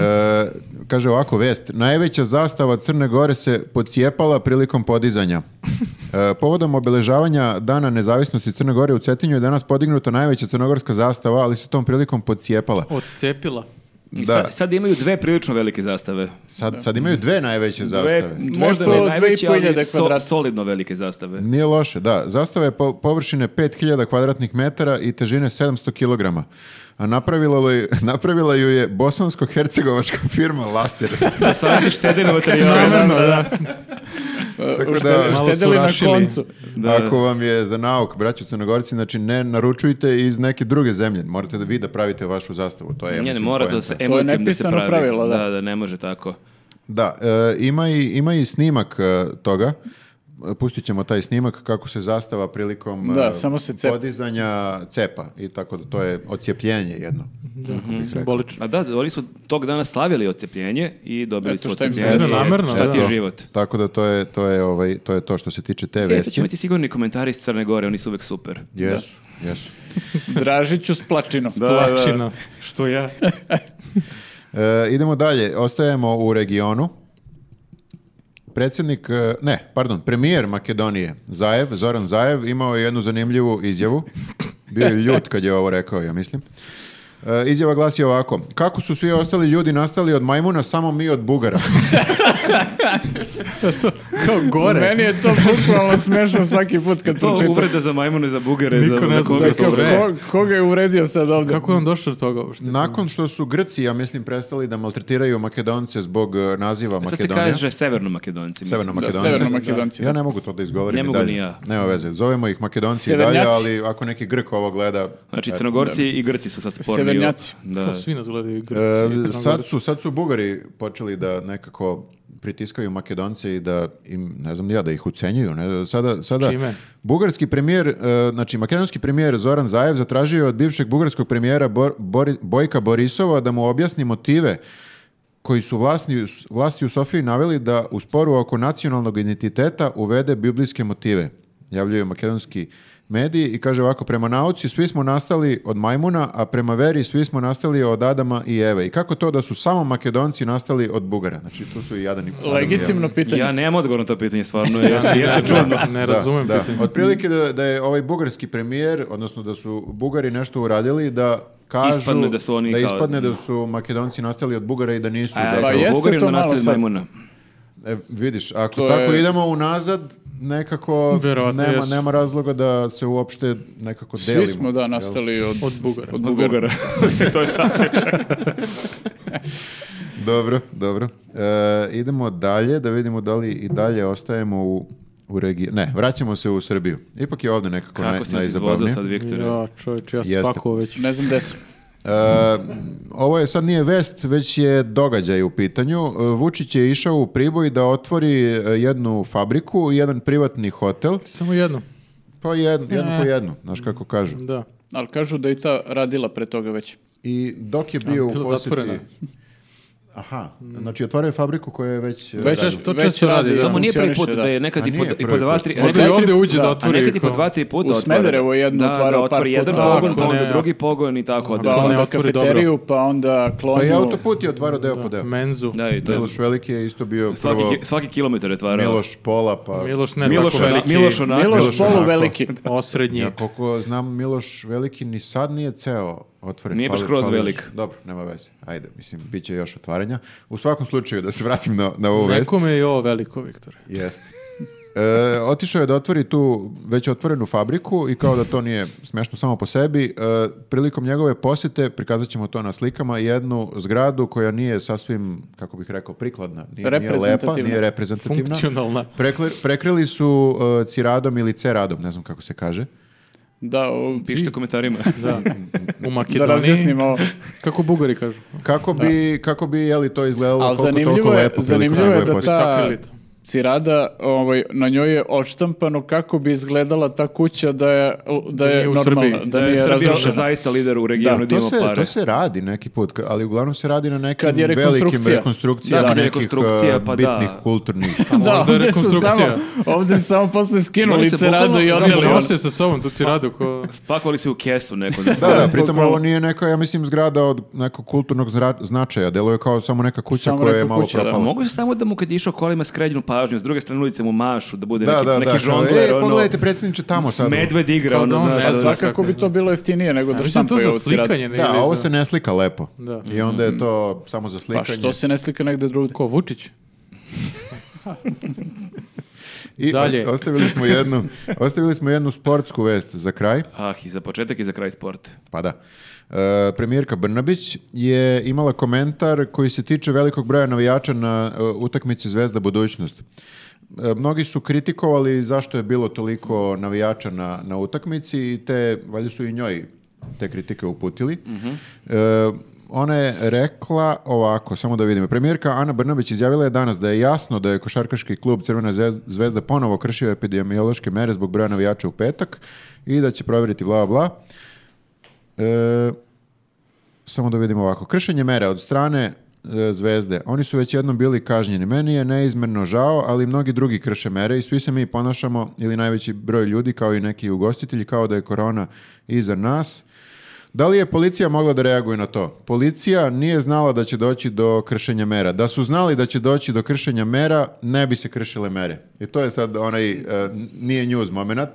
E, kaže ovako vest, najveća zastava Crne Gore se pocijepala prilikom podizanja. E, povodom obeležavanja Dana nezavisnosti Crne Gore u Cetinju je danas podignuta najveća crnogorska zastava, ali se tom prilikom pocijepala.
Odcepila.
I
Da,
sad, sad imaju dve prilično velike zastave.
sad, sad imaju dve najveće zastave.
možda
Nešto
ne
od
najveće,
2500
ali so,
kvadrata.
solidno velike zastave.
Nije loše, da. Zastava je po- površine 5000 kvadratnih metara i težine 700 kilograma. A napravila, li- napravila ju je bosansko-hercegovačka firma Laser.
Da sad se štede na materijale.
Namerno, da.
Tako
Ušte-
da-
uštedeli
Malo su rašili.
na koncu.
Ako vam je za nauk, braćo Crnogorci, znači ne naručujte iz neke druge zemlje. Morate da vi da pravite vašu zastavu. To je, ja
Ne, ne,
mislim,
mora
poenta.
da se emocijom da se
nepisano
pravi.
pravilo, da.
da, ne može tako.
Da, e, ima, i, ima i snimak e, toga. E, Pustit ćemo taj snimak kako se zastava prilikom
Da,
e,
samo se cep-
podizanja cepa. I tako da to je ocijepljenje jedno.
Mhm. Simbolično.
A da, oni su tog dana slavili ocepljenje i dobili
Eto
su
šta im se
ocepljenje.
desilo.
Namerno,
Šta ti je
da.
život?
Tako da to je to je ovaj to je to što se tiče te
E, sad
vesti.
ćemo imati sigurni komentari iz Crne Gore, oni su uvek super.
Jesu, jesu.
Dražiću s plačinom.
Plačina.
Što ja?
E, idemo dalje, ostajemo u regionu. Predsjednik, e, ne, pardon, premijer Makedonije, Zajev, Zoran Zajev, imao je jednu zanimljivu izjavu. Bio je ljut kad je ovo rekao, ja mislim. E, izjava glasi ovako. Kako su svi ostali ljudi nastali od majmuna, samo mi od bugara?
Kao gore.
Meni je to bukvalno smešno svaki put kad
To
pročitam.
uvreda za majmune, za bugare,
Niko
za,
ne
za
zna
koga
da
su.
to- sve.
Ko, koga je uvredio sad ovdje?
Kako je on došao do toga uopšte?
Nakon što su Grci, ja mislim, prestali da maltretiraju Makedonce zbog e, naziva
Sad se
Makedonija.
kaže severno makedonci. mislim.
Severno
Da,
Makedonci.
severno makedonci.
Ja ne mogu to da izgovorim
Ne
i
mogu
dalje.
ni ja.
Nema veze, zovemo ih Makedonci i dalje,
Severnjaci.
ali ako neki Grk ovo gleda...
Znači, crnogorci i grci su sad sporni.
Severnjaci.
Da.
Kao Svi nas gledaju Grci.
E,
Crnogorci.
sad, su, sad su Bugari počeli da nekako pritiskaju Makedonce i da im, ne znam ni ja, da ih ucenjuju. Ne? Sada, sada
Čime?
bugarski premijer, e, znači makedonski premijer Zoran Zajev zatražio je od bivšeg bugarskog premijera Bor- Bori- Bojka Borisova da mu objasni motive koji su vlasni, vlasti u Sofiji naveli da u sporu oko nacionalnog identiteta uvede biblijske motive. Javljaju makedonski mediji i kaže ovako, prema nauci svi smo nastali od majmuna, a prema veri svi smo nastali od Adama i Eve. I kako to da su samo makedonci nastali od Bugara? Znači tu su i Jadan i Adam i Eva.
Legitimno pitanje.
Ja nemam odgovor na to pitanje, stvarno. Jeste, jeste čudno.
Ne razumem
da.
pitanje.
Otprilike da, da je ovaj bugarski premijer, odnosno da su Bugari nešto uradili da kažu
Ispadne da su oni
da
kao-
ispadne da su Makedonci nastali od Bugara i da
E,
nisu.
A,
pa
zapravo.
jesu
jeste
Bugari
to malo
nastali od
sad.
majmuna.
E, vidiš, ako
To
tako
je-
idemo unazad, nekako
Verovatno
nema,
jesu.
nema razloga da se uopšte nekako delimo.
Svi smo da nastali od,
Od Bugara.
od
Od
Bugara.
Bugara. Mislim, to je zaključak.
Dobro, dobro. E, idemo dalje, da vidimo da li i dalje ostajemo u, u regiji. Ne, vraćamo se u Srbiju. Ipak je ovde nekako naj,
Kako si nas izvozao
najzabavnije.
sad, Viktore?
Ja, čovječ, ja
Jeste.
sam spakovao već.
Ne znam gde sam.
E, ovo je sad nije vest, već je događaj u pitanju. E, Vučić je išao u Priboj da otvori e, jednu fabriku, jedan privatni hotel,
Samo jedno.
pa jednu, jednu
E.
po jednu, znaš kako kažu.
Da.
Ali kažu da je i ta radila pre toga već.
I dok je bio
A,
u
bila
posjeti...
zatvorena.
Aha, znači otvaraju fabriku koja je već... e,
Već-
radila.
To
Već
često
radi,
radi,
da.
To mu
da.
nije prvi put
Funkcioniše,
da
da.
je nekad
A
i po,
nije
i po
prvi
dva,
put.
tri...
Možda
nekad
i
i
ovdje
tri-
uđe da
a
otvori
nekad i po
kao-
dva, tri puta
U
otvara.
Smederevu je jednom
Da,
otvarao
da,
par
otvori jedan
puta.
pogon,
Tako,
pa onda
ne.
drugi pogon i tako.
Pa
Ako
Da,
ne
onda
otvori, dobro.
kafeteriju, pa onda klonu.
Pa i autoput je otvarao deo po
Da,
deo.
Menzu.
da i to je...
Miloš Veliki je isto bio
Svaki,
prvo
ki- svaki kilometar je otvarao.
Miloš Pola, pa...
Miloš ne
Miloš,
tako veliki.
Miloš onako.
Miloš
Miloš
Polu
onako.
veliki.
Osrednji.
Ja koliko znam, Miloš Veliki ni sad nije ceo otvoren.
Nije baš
Fali-
skroz
fali još.
velik.
Dobro, nema veze. Ajde, mislim, bit će još otvaranja. U svakom slučaju, da se vratim na, na ovu vest.
Nekome je i ovo veliko, Viktore.
Jeste. E, otišao je da otvori tu već otvorenu fabriku i kao da to nije smešno samo po sebi, e, prilikom njegove posjete, prikazat ćemo to na slikama, jednu zgradu koja nije sasvim, kako bih rekao, prikladna, nije, nije lepa,
Reprezentativna.
nije reprezentativna.
Funkcionalna.
Prekli- prekrili su e, ciradom ili ceradom, ne znam kako se kaže.
Da, u-
Pišite u komentarima.
Da. U
da
Makedoniji.
razjasnimo ovo.
Kako Bugari kažu.
Kako bi, kako bi je li to izgledalo
Ali
koliko
zanimljivo
toliko
je,
lepo prilikom
zanimljivo je
njegove
da
posjete.
ta
Sakrilit.
cirada, ovaj, na njoj je odštampano kako bi izgledala ta kuća da je, da je
nije u
normalna,
Srbiji.
da
je
nije
Srbija
razrušena.
zaista lider u regionu
Da,
gdje
To
imamo
se,
pare.
to se radi neki put, ka- ali uglavnom se radi na nekim
Kad je
velikim
rekonstrukcija.
rekonstrukcijama
Da, kad je
nekih
rekonstrukcija,
uh,
pa da.
bitnih kulturnih.
Da,
Možda je
ovdje su samo,
rekonstrukcija.
ovdje su samo posle
Oni
skinuli
se
ciradu i
bukvalno-
Da,
odneli.
Odneli
nosio sa sobom tu ciradu ko...
Spakovali se u kesu neko. Da,
da, da, pritom
bukvalno.
ovo nije neka, ja mislim, zgrada od nekog kulturnog zra- značaja. Deluje kao samo neka kuća
Samo
koja je
neka
malo
kuća, da.
propala.
Mogu se Pa samo da mu kad je išao kolima skređenu pažnju, s druge strane ulice mu mašu, da bude
Da,
neki,
da,
neki
da. kao,
žongler,
e,
ono,
pogledajte predsjedniče tamo sad.
medved igra,
Kao
ono,
da on
znaš,
ne
da-
zna
Pa Svakako bi to bilo jeftinije nego da
Mislim to
štampaju
za
ovu ciradu.
slikanje. ne,
Da,
ili
ovo
za-
se ne slika lepo.
Da.
I onda
Mm.
je to samo za slikanje.
Pa što se ne slika negde drugde?
Ko, Vučić?
I
Dalje.
ost- ostavili smo jednu, ostavili smo jednu sportsku vest za kraj.
Ah, i za početak i za kraj sport.
Pa da. E, premijerka Brnabić je imala komentar koji se tiče velikog broja navijača na e, utakmici Zvezda budućnost. E, Mnogi su kritikovali zašto je bilo toliko navijača na, na utakmici i te, valjda su i njoj te kritike uputili. E, ona je rekla ovako, samo da vidimo. Premijerka Ana Brnabić izjavila je danas da je jasno da je košarkaški klub Crvena zez- zvezda ponovo kršio epidemiološke mere zbog broja navijača u petak i da će provjeriti bla bla. bla. E, samo da vidimo ovako. Kršenje mera od strane e, zvezde. Oni su već jednom bili kažnjeni. Meni je neizmerno žao, ali mnogi drugi krše mere i svi se mi ponašamo, ili najveći broj ljudi, kao i neki ugostitelji, kao da je korona iza nas. Da li je policija mogla da reaguje na to? Policija nije znala da će doći do kršenja mera. Da su znali da će doći do kršenja
Mhm.
mera, ne bi se kršile mere. I to je sad onaj, e, n- nije news moment.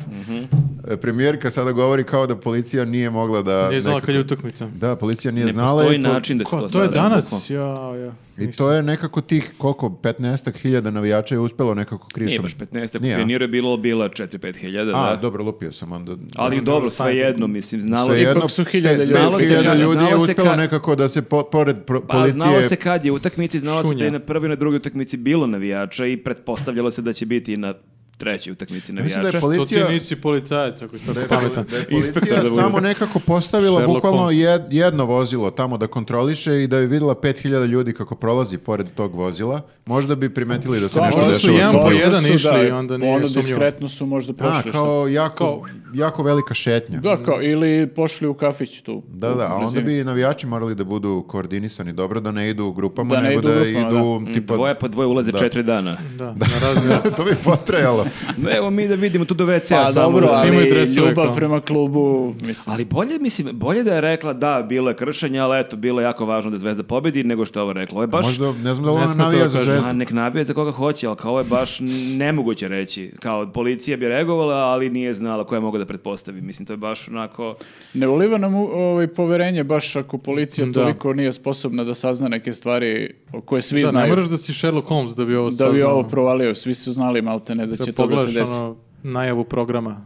E, Premijerka sada govori kao da policija nije mogla da...
Nije znala
Pa, nekako-
kad je utakmica.
Da, policija nije
Ne
znala.
postoji
i po-
način da se
Ko,
to
to je
saznaš,
danas?
bukvalno.
Ja, ja.
I to je nekako tih, koliko, 15 hiljada navijača je uspelo nekako krišom.
Nije baš 15,
Nije, a?
pioniru je bilo bila 4-5 hiljada,
A,
da.
dobro, lupio sam onda.
Ali dobro, sve jedno, mislim, znalo se...
Svejedno,
Ipak su hiljade
pet,
ljudi.
pet
Znalo se
hiljada
kad-
ljudi je
znalo se
uspelo
kad-
nekako da se po- pored pro-
Pa znalo
policije...
se kad je u utakmici, znalo se da
Šunja.
je na prvoj i na drugoj utakmici bilo navijača i pretpostavljalo se da će biti i na trećoj utakmici
Mislim
navijača.
da je
To ti
policija...
nisi policajac, ako je tako pametan.
da je
Inspektor da
policija
budem.
samo nekako postavila
Sherlock
bukvalno
Holmes.
jed- jedno vozilo tamo da kontroliše i da je vidjela 5000 ljudi kako prolazi pored tog vozila, možda bi primetili da se
Pa,
nešto
možda
dešava.
su jedan
sa
po
policom.
Možda
jedan
su,
išli
da,
i onda nije
Ono
sumnjivo.
diskretno su možda
A,
prošli. što-
kao jako, jako velika šetnja.
Da, kao, ili pošli u kafić tu.
Da,
u
da, a onda
blizini.
bi i navijači morali da budu koordinisani dobro, da ne idu u grupama,
Da ne
nego
idu
da
grupama,
idu... Tipa,
Mm, Dvoje po dvoje ulaze
Da.
četiri dana.
Da, na razne...
to bi potrajalo.
No, evo mi da vidimo tu do WC-a
Pa
samo.
dobro,
Svi imaju
ali
dresove
ljubav
kao.
prema klubu, mislim.
Ali bolje, mislim, bolje da je rekla da, bilo je kršenja, ali eto, bilo je jako važno da Zvezda pobedi, nego što je ovo rekla. Ovo je baš...
Možda, ne znam da li
Ne
ona
sme to
navija
da
za
kažem.
zvezdu.
A nek nabije za koga hoće, ali kao ovo je baš nemoguće reći. Kao policija bi reagovala, ali nije znala koja mogu da pretpostavi. Mislim, to je baš onako...
Ne uliva nam u- ovaj, poverenje baš ako policija
Da.
toliko nije sposobna da sazna neke stvari o koje svi
Da, ne
znaju.
moraš da si Sherlock Holmes da bi ovo
da
saznao.
bi ovo provalio, svi su znali maltene da
Sad
će to da se
pogledaš,
desi.
ono, najavu programa.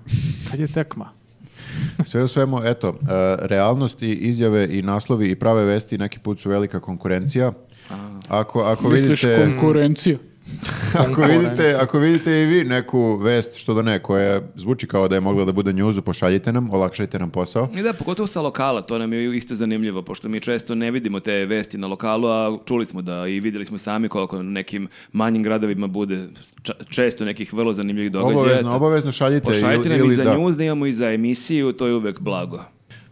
Kad je tekma?
Sve u svemu, eto, e, realnosti, izjave i naslovi i prave vesti neki put su velika konkurencija. Ako,
ono,
ako
Misliš
vidite...
konkurencija?
Ako vidite, ako vidite i vi neku vest, što da ne, koja zvuči kao da je mogla da bude njuzu, pošaljite nam, olakšajte nam posao.
I da, pogotovo sa lokala, to nam je isto zanimljivo, pošto mi često ne vidimo te vesti na lokalu, a čuli smo da i vidjeli smo sami koliko u nekim manjim gradovima bude ča- često nekih vrlo zanimljivih događaja.
Obavezno,
Eto,
obavezno šaljite
Pošaljite
ili,
nam i
ili
za
da.
news, da imamo i za emisiju, to je uvek blago.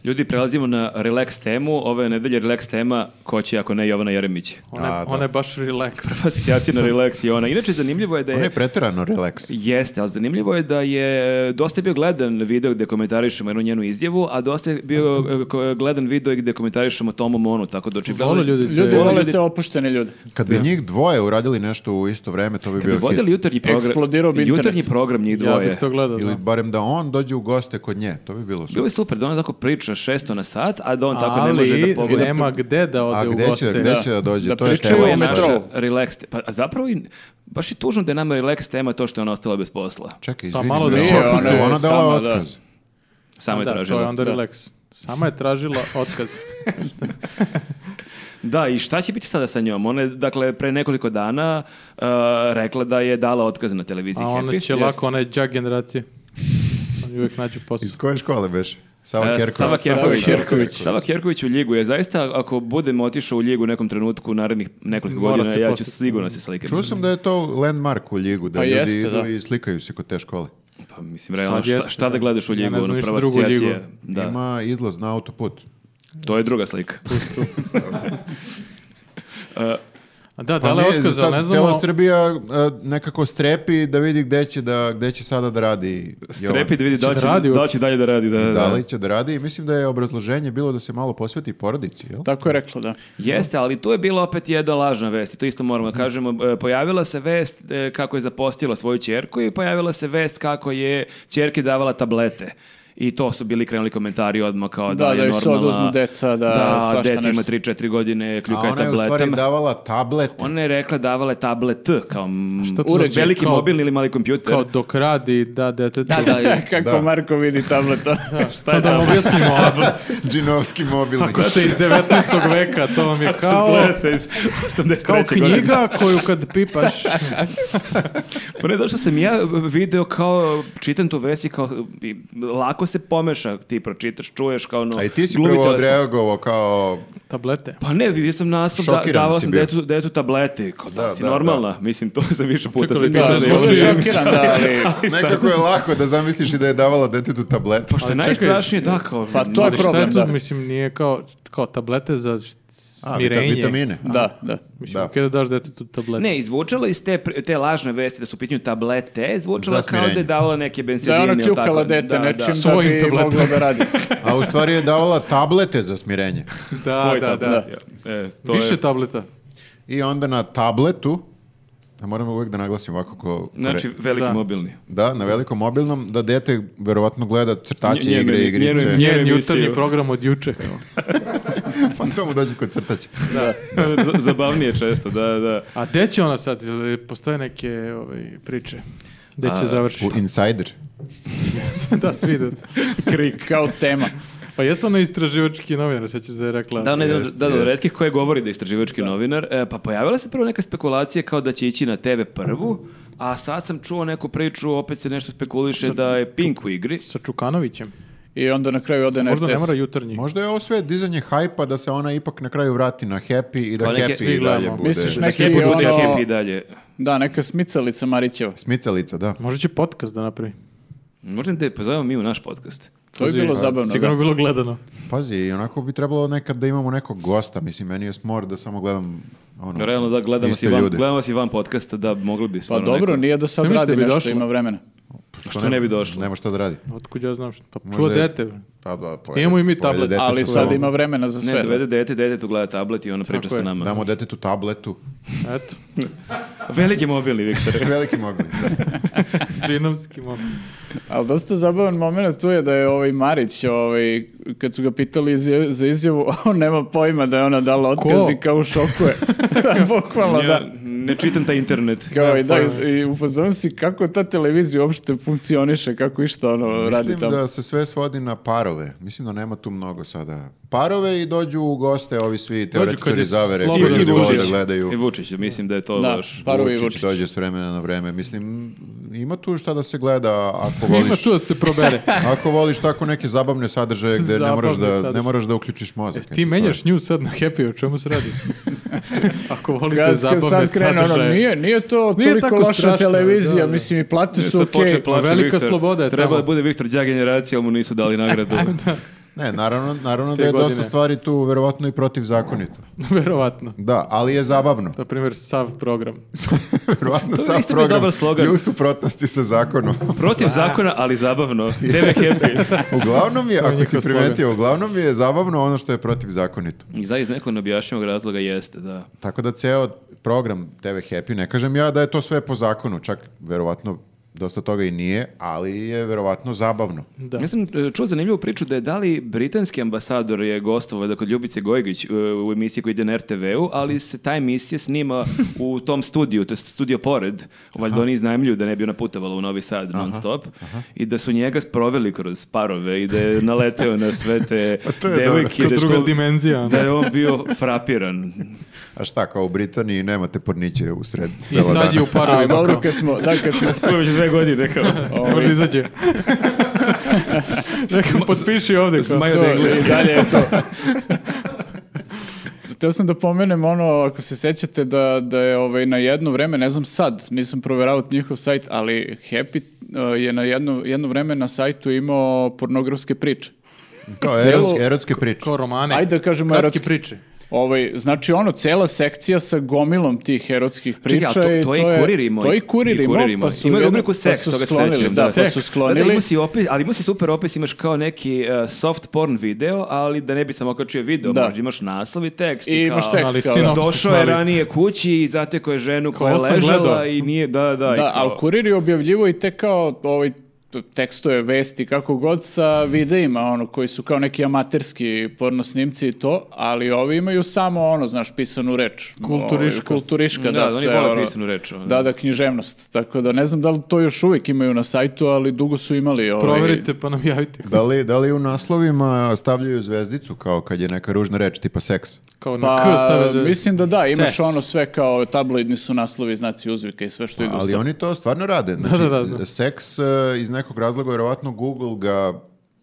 Ljudi, prelazimo na relax temu. Ove nedelje relax tema, ko će ako ne Jovana Jeremić?
Ona,
A,
je-
da.
ona je baš relax.
Asocijacija na relax i ona. Inače, zanimljivo je da je...
Ono je preterano relaks.
Jeste, ali zanimljivo je da je dosta je bio gledan video gdje komentarišemo jednu njenu izjavu, a dosta je bio e, ko- gledan video gdje komentarišemo Tomu Monu, tako da očigledno...
Vole ljudi te-
Ljudi
Vole
vole
ljudi-
te opuštene ljude.
Kad bi njih dvoje uradili nešto u isto vreme, to bi
Bi
bio hit.
vodili jutarnji program,
Eksplodirao bi internet.
jutarnji program njih
Ja
dvoje.
bih to gledao,
Ili
da.
barem da on dođe u goste kod nje, to bi bilo super.
Bilo je super da ona tako priča šesto na sat, a da on tako ne može da
Ali
pogleda.
nema gde da ode
A
u
gde će,
goste.
gde će da dođe?
Da
to
Znači,
je
pričaju
tema.
Ovo je
u
naša
metrou.
relax te- Pa a zapravo i, baš je tužno da je nama relax tema to što je ona ostala bez posla.
Čekaj,
Pa
izvini,
malo da
me,
se
ona-
opusti.
Ona dala
Sama, da.
otkaz.
Sama je
Da,
tražila.
to je onda
Da.
relax. Sama je tražila otkaz.
Da, i šta će biti sada sa njom? Ona je, dakle, pre nekoliko dana uh, rekla da je dala otkaz na televiziji
A ona
Happy.
će lako, ona je džak generacije. Oni uvijek nađu
Iz
posao.
koje škole beše? Sava
E,
Kjerković.
Sava Kjerković.
Sava Kjerković.
Sava Kjerković u ligu je zaista, ako budem otišao u ligu u nekom trenutku narednih nekoliko
Mora
godina,
se
ja ću
posjetiti.
sigurno se slikati.
Čuo sam da je to landmark u Ljigu, da
Pa
ljudi
jeste,
idu
da.
i slikaju se kod te škole.
Pa mislim, realno,
Sad
šta,
jeste,
šta da
da.
gledaš u
Ja
ligu?
ne znam
ono,
ništa
prva
drugu ligu.
asocijacija je- Da,
Ima izlaz na autoput.
to je druga slika.
A da,
Pa
dala
ne,
je otkaz,
sad
ali ne znamo...
Cela Srbija e, nekako strepi da vidi gde će, da, gde će sada da radi.
Strepi da vidi da li
da
će,
radi
da li
uopšte?
će dalje da radi. Da, da.
Jovan. Da li će da radi i mislim da je obrazloženje bilo da se malo posveti porodici, jel?
Tako je rekla, da.
Jeste, ali tu je bila opet jedna lažna vest i to isto
Mhm.
moramo da kažemo. E, Pojavila se vest e, kako je zapostila svoju čerku i pojavila se vest kako je čerki davala tablete. I to su bili krenuli komentari odmah kao da,
Da,
je
da joj
normalna...
se oduzmu deca, da
da
svašta
dete ima
nešto.
3-4 godine,
A
kljuka je
ona je u stvari
tabletama.
davala tablet.
Ona je rekla davala je tablet kao mm,
Što to znači?
veliki
Kao-
mobilni ili mali kompjuter.
Kao dok radi, da, detetu.
da, Pa da, je.
Kako
Da.
Marko vidi tableta. Šta je
Sad da vam
tamo?
objasnimo, ako
Džinovski mobilni.
ste iz 19. veka, to vam je kao...
Izgledate iz 83.
Kao
godine.
knjiga koju kad pipaš...
Pa ne, zašto sam ja video kao, čitam tu vesi kao, i lako se pomeša, ti pročitaš, čuješ kao ono...
A i ti si
glumi
prvo
telefon.
odreagovao kao...
Tablete.
Pa ne, vidio sam naslov, da,
Šokiran
davao
si
sam
bio.
detu, detu tablete, kao da,
Da,
si
da,
normalna, mislim, to sam više puta
Čekaj,
se
da,
pitao
Da,
za
zvuči
Jovanu
zvuči
Jeremić.
šokiran, da, ali...
I sad-
Nekako je lako da zamisliš i da je davala detetu tablet.
Pa što je
Ali čekaj,
najstrašnije, da, kao...
Pa to je
Ali šta je
problem,
tu,
da.
mislim, nije kao, kao tablete za št-
A, vita-
smirenje.
vitamine.
Da, da.
Mislim,
Da.
okej da daš detetu tablete.
Ne, izvučala iz te, pri- te lažne vesti da su u pitanju tablete, izvučala
Za
kao da je
smirenje.
davala neke
Da
bensedine.
je ona
ili tako.
kljukala dete
Da, da.
nečim da
Svojim
bi
tabletom.
mogla da radi.
A u stvari je davala tablete za smirenje.
da,
Svoj
da, da.
tablet, ja. E, to
Više
je-
tableta.
I onda na tabletu Da moram uvijek da naglasim ovako ko...
Znači,
re-
veliki
Da.
mobilni.
Da, na velikom mobilnom, da dete verovatno gleda crtaće,
Nje- njene-
igre, igrice.
njene-
Njen
emisiju.
jutarnji program od juče.
pa to mu dođe kod crtaća.
Z- Zabavnije često, da, da.
A gde će ona sad? Ili postoje neke ovaj, priče? Gde će
A,
završiti?
U Insider.
da, svi da.
Krik kao tema.
Pa jeste ona istraživački novinar, sećaš da je rekla... e,
Da, ona je
Jest,
da, da,
jest.
od retkih koje govori da je istraživački novinar. E, pa pojavila se prvo neka spekulacija kao da će ići na TV prvu, a sad sam čuo neku priču, opet se nešto spekuliše da je Pink u igri.
Sa Čukanovićem.
I onda na kraju ode na
Možda ne
RTS.
mora jutarnji.
Možda je ovo sve dizanje hajpa da se ona ipak na kraju vrati na Happy i da
Pa neke-
Happy
svi
i dalje
gledamo.
bude.
Misliš
Da
Neki
Happy
je
bude
ono-
Happy i dalje.
Da, neka smicalica Marićeva.
Smicalica, da.
Možda će podcast da napravi.
Možda da je pozovemo mi u naš podcast.
To je
Pazi,
bilo
pa,
zabavno.
Sigurno
da.
bi bilo gledano.
Pazi, i onako bi trebalo nekad da imamo nekog gosta. Mislim, meni je smor da samo gledam ono,
Realno da gledamo vas,
iste
i van,
ljude.
gledamo vas i van podcasta, da mogli bi
Pa
stvarno
dobro,
neko-
nije do
Sve
sad
mislite
radi
bi
nešto,
došlo?
ima vremena.
Što ne bi došlo?
Nema šta da radi.
Otkud ja znam što. Pa
Možda
čuo
je-
dete.
Pa, da, pojede-
Imamo i mi
pojede
tablet.
dete
Ali
svoje.
sad ima vremena za sve.
Ne,
da.
dovede dete, dete tu gleda tablet i ona priča
Tako
sa
je.
nama.
Damo detetu tabletu.
Eto,
Veliki mobilni, Viktor.
Veliki mogli.
džinovski moment.
Ali dosta zabavan moment tu je da je ovaj Marić, ovaj, kad su ga pitali izja- za izjavu, on nema pojma da je ona dala otkaz
Ko?
i kao u šoku je. Bukvalno,
Ja
da.
ne čitam taj internet.
Kao i
Nema
da,
pojma.
i u fazonu si kako ta televizija uopšte funkcioniše, kako išta ono radi
Mislim
tamo.
da se sve svodi na parove. Mislim da nema tu mnogo sada. Parove i dođu u goste ovi svi
kad
teoretičari
je
zavere
slobodan
koji
I- i
ljudi vole da
Vučić.
gledaju.
I Vučić, mislim da je to
Da, Pa,
baš...
Parovi i
Vučić
Vučić.
dođe s vremena na vreme. Mislim, ima tu šta da se gleda ako
Ima
voliš.
tu da se probere.
Ako voliš tako neke zabavne sadržaje gde ne moraš,
Zabavne
da,
sadržaje. E,
ne moraš da uključiš mozak. eto, to
Ti
je.
menjaš nju sad na happy, o čemu se radi? Ako volite
Kad- kad
zabavne
sad krene, ono,
sadržaje.
nije, nije to
Nije
toliko
tako
loša
strašno,
televizija,
da, da.
mislim i plate su
Sad
okej.
počne plače
Velika
Viktor.
sloboda je
Treba
tamo.
da bude Viktor Đa generacija, ali mu nisu dali nagradu.
Ne, naravno, naravno
Te
da je dosta
godine.
stvari tu verovatno i protivzakonito.
Verovatno.
Da, ali je zabavno.
Na primjer, sav program.
verovatno
To je
sam
isto bio
program
dobar slogan.
je u suprotnosti sa zakonom.
Protiv zakona, ali zabavno. Tebe happy.
uglavnom je,
To je
ako si
njihov slogan.
primetio, uglavnom je zabavno ono što je protivzakonito.
I da, iz nekog neobjašnjivog razloga jeste, da.
Tako da ceo program TV Happy, ne kažem ja da je to sve po zakonu, čak verovatno dosta toga i nije, ali je verovatno zabavno.
Da.
Ja sam e, čuo zanimljivu priču da je da li britanski ambasador je gostovao da kod Ljubice Gojgić e, u emisiji koja ide na RTV-u, ali se ta emisija snima u tom studiju, to je studio pored, valjda oni iznajmljuju da ne bi ona putovala u Novi Sad non stop, i da su njega sproveli kroz parove i da je naleteo na sve te
to je
devojke. i
Kao
da je
druga
to-
dimenzija. ono.
Da je on bio frapiran.
A šta, kao u Britaniji nemate porniće u sred.
I sad je u
A,
parovima.
dobro,
kao.
kad smo, da, kad smo,
To je već dve godine kao.
Ne može da izađe. Neka potpiši ovdje. kao.
Zmaj-
to,
od engleske.
i dalje je to. Htio sam da pomenem ono, ako se sećate da, da je ovaj, na jedno vreme, ne znam sad, nisam proveravao njihov sajt, ali Happy uh, je na jedno, jedno vreme na sajtu imao pornografske priče.
Kao
Celo-
erotske, erotske priče.
Kao romane.
Ajde da kažemo
Kratke
erotske.
priče.
Ovaj, znači ono, cela sekcija sa gomilom tih erotskih priča.
Čekaj, a to,
i
to, je i kurir imao.
To je i kurir
I
imao,
kurir imao.
pa su,
Imao je
jedno-
rubriku seks,
pa
toga
su
se
sklonili.
sećam,
Da,
da.
pa su
Seks.
Da, da,
sklonili.
ima si opis, ali ima si super opis, imaš kao neki e, soft porn video, ali da ne bi samo okačio video,
Da.
možda imaš naslov i tekst.
I imaš
kao,
tekst
Ali
kao,
sinopsis
Došao je
mali.
ranije kući i zateko je ženu koja je
sam
ležala
gledao.
i nije, da, da. i
Da,
kao-
ali kurir je objavljivo i te kao ovaj, t- tekstove, vesti, kako god sa videima, ono, koji su kao neki amaterski porno snimci i to, ali ovi imaju samo ono, znaš, pisanu reč.
Kulturiška.
Ovaj, kulturiška, da,
Da, da, oni
sve,
vole
ono,
pisanu reč, ono.
Da, da, književnost. Tako da ne znam da li to još uvijek imaju na sajtu, ali dugo su imali. Ovaj,
Proverite pa nam javite.
Da li, da li u naslovima stavljaju zvezdicu kao kad je neka ružna reč tipa seks?
Kao na
Pa,
K stave za...
mislim da da, imaš
Ses.
ono sve kao tabloidni su naslovi, znaci uzvika i sve
Pa,
što ide uz
Ali
to.
oni to stvarno rade. Znači,
da, da, znam.
seks e, iz nekog razloga vjerovatno Google ga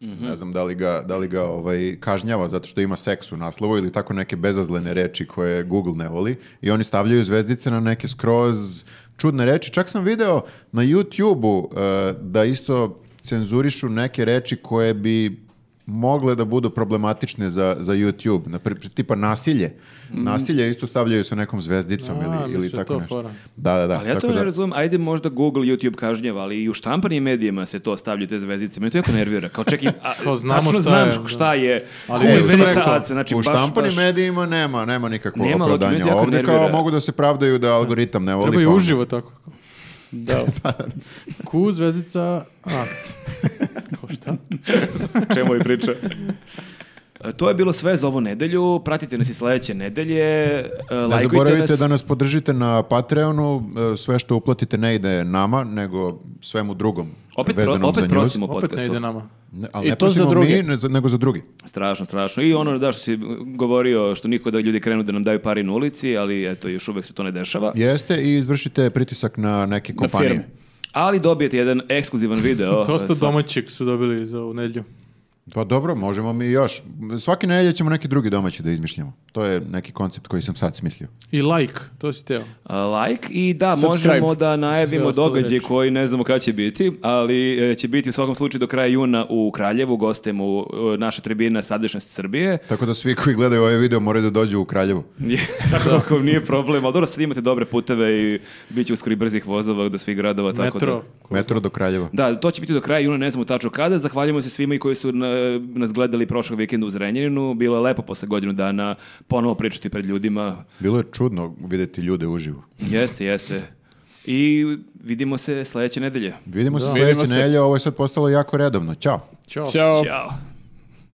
Mhm.
ne znam da li ga, da li ga ovaj, kažnjava zato što ima seks u naslovu ili tako neke bezazlene reči koje Google ne voli i oni stavljaju zvezdice na neke skroz čudne reči. Čak sam video na YouTube-u e, da isto cenzurišu neke reči koje bi mogle da budu problematične za, za YouTube. Na, pri- pri- tipa nasilje. Nasilje isto stavljaju sa nekom zvezdicom
Mhm. A,
ili, ili
misliš da je
tako
to
nešto.
fora?
Da, da, da.
Ali ja
tako
to ne
da-
razumem, ajde možda Google, YouTube kažnjava, ali i u štampanim medijima se to stavljaju te zvezdice, mene to jako nervira. Kao čekaj, a,
Kao znamo
tačno
šta je,
znam
da.
šta je,
Ali
ali
ne,
zvezdica
rekao,
AC, znači
u
baš,
štampanim
baš-
medijima nema, nema nikakvog
Nema, ali to me
opravdanja.
jako
Ovdje kao
nervira.
mogu da se pravdaju da algoritam ne voli.
Treba i
pa onda-
uživo tako.
Da.
Pa, Ku, zvezdica, ac. Ko šta?
čemu i priča. E, To je bilo sve za ovu nedelju. Pratite nas i sledeće nedelje. E,
Ne
Lajkujte
zaboravite
nas.
da nas podržite na Patreonu, e, sve što uplatite ne ide nama, nego svemu drugom
Opet, pro-
vezanom za
opet
news.
prosimo
Opet ne
podcastu.
ide nama.
Ne, ali
I
ne
E, to za
prosimo mi,
druge.
ne za- nego za drugi.
Strašno, strašno. I ono da što si govorio, što niko da ljudi krenu da nam daju pari na ulici, ali eto, još uvek se to ne dešava.
Jeste i izvršite pritisak na neke
Na
kompanije.
firme.
Ali dobijete jedan ekskluzivan video. e,
Dosta
Sva-
domaćih su dobili za ovu nedlju.
Pa dobro, možemo mi još. Svaki nedelje ćemo neki drugi domaći da izmišljamo. To je neki koncept koji sam sad smislio.
I like, to si teo.
A, like i da,
Subscribe.
možemo da najavimo
Sve ostale
događaj
reči.
koji ne znamo kada će biti, ali e, će biti u svakom slučaju do kraja juna u Kraljevu, gostem u e, naša tribina Sadašnjosti Srbije.
Tako da svi koji gledaju ovaj video moraju da dođu u Kraljevu.
tako nije problem, ali dobro, sad imate dobre puteve i bit će uskoro i brzih vozova do svih gradova. Tako
Metro.
Metro do Kraljeva.
Da, da, to će biti do kraja juna, ne znamo tačno kada. Zahvaljujemo se svima i koji su na- nas gledali prošlog vikenda u Zrenjaninu. Bilo je lepo posle godinu dana ponovo pričati pred ljudima.
Bilo je čudno vidjeti ljude uživo.
Jeste, jeste. I vidimo se sledeće nedelje.
Vidimo se
Vidimo
sljedeće
se.
nedelje, ovo je sad postalo jako redovno. Ćao.
Ćao.
Ćao.
Ćao.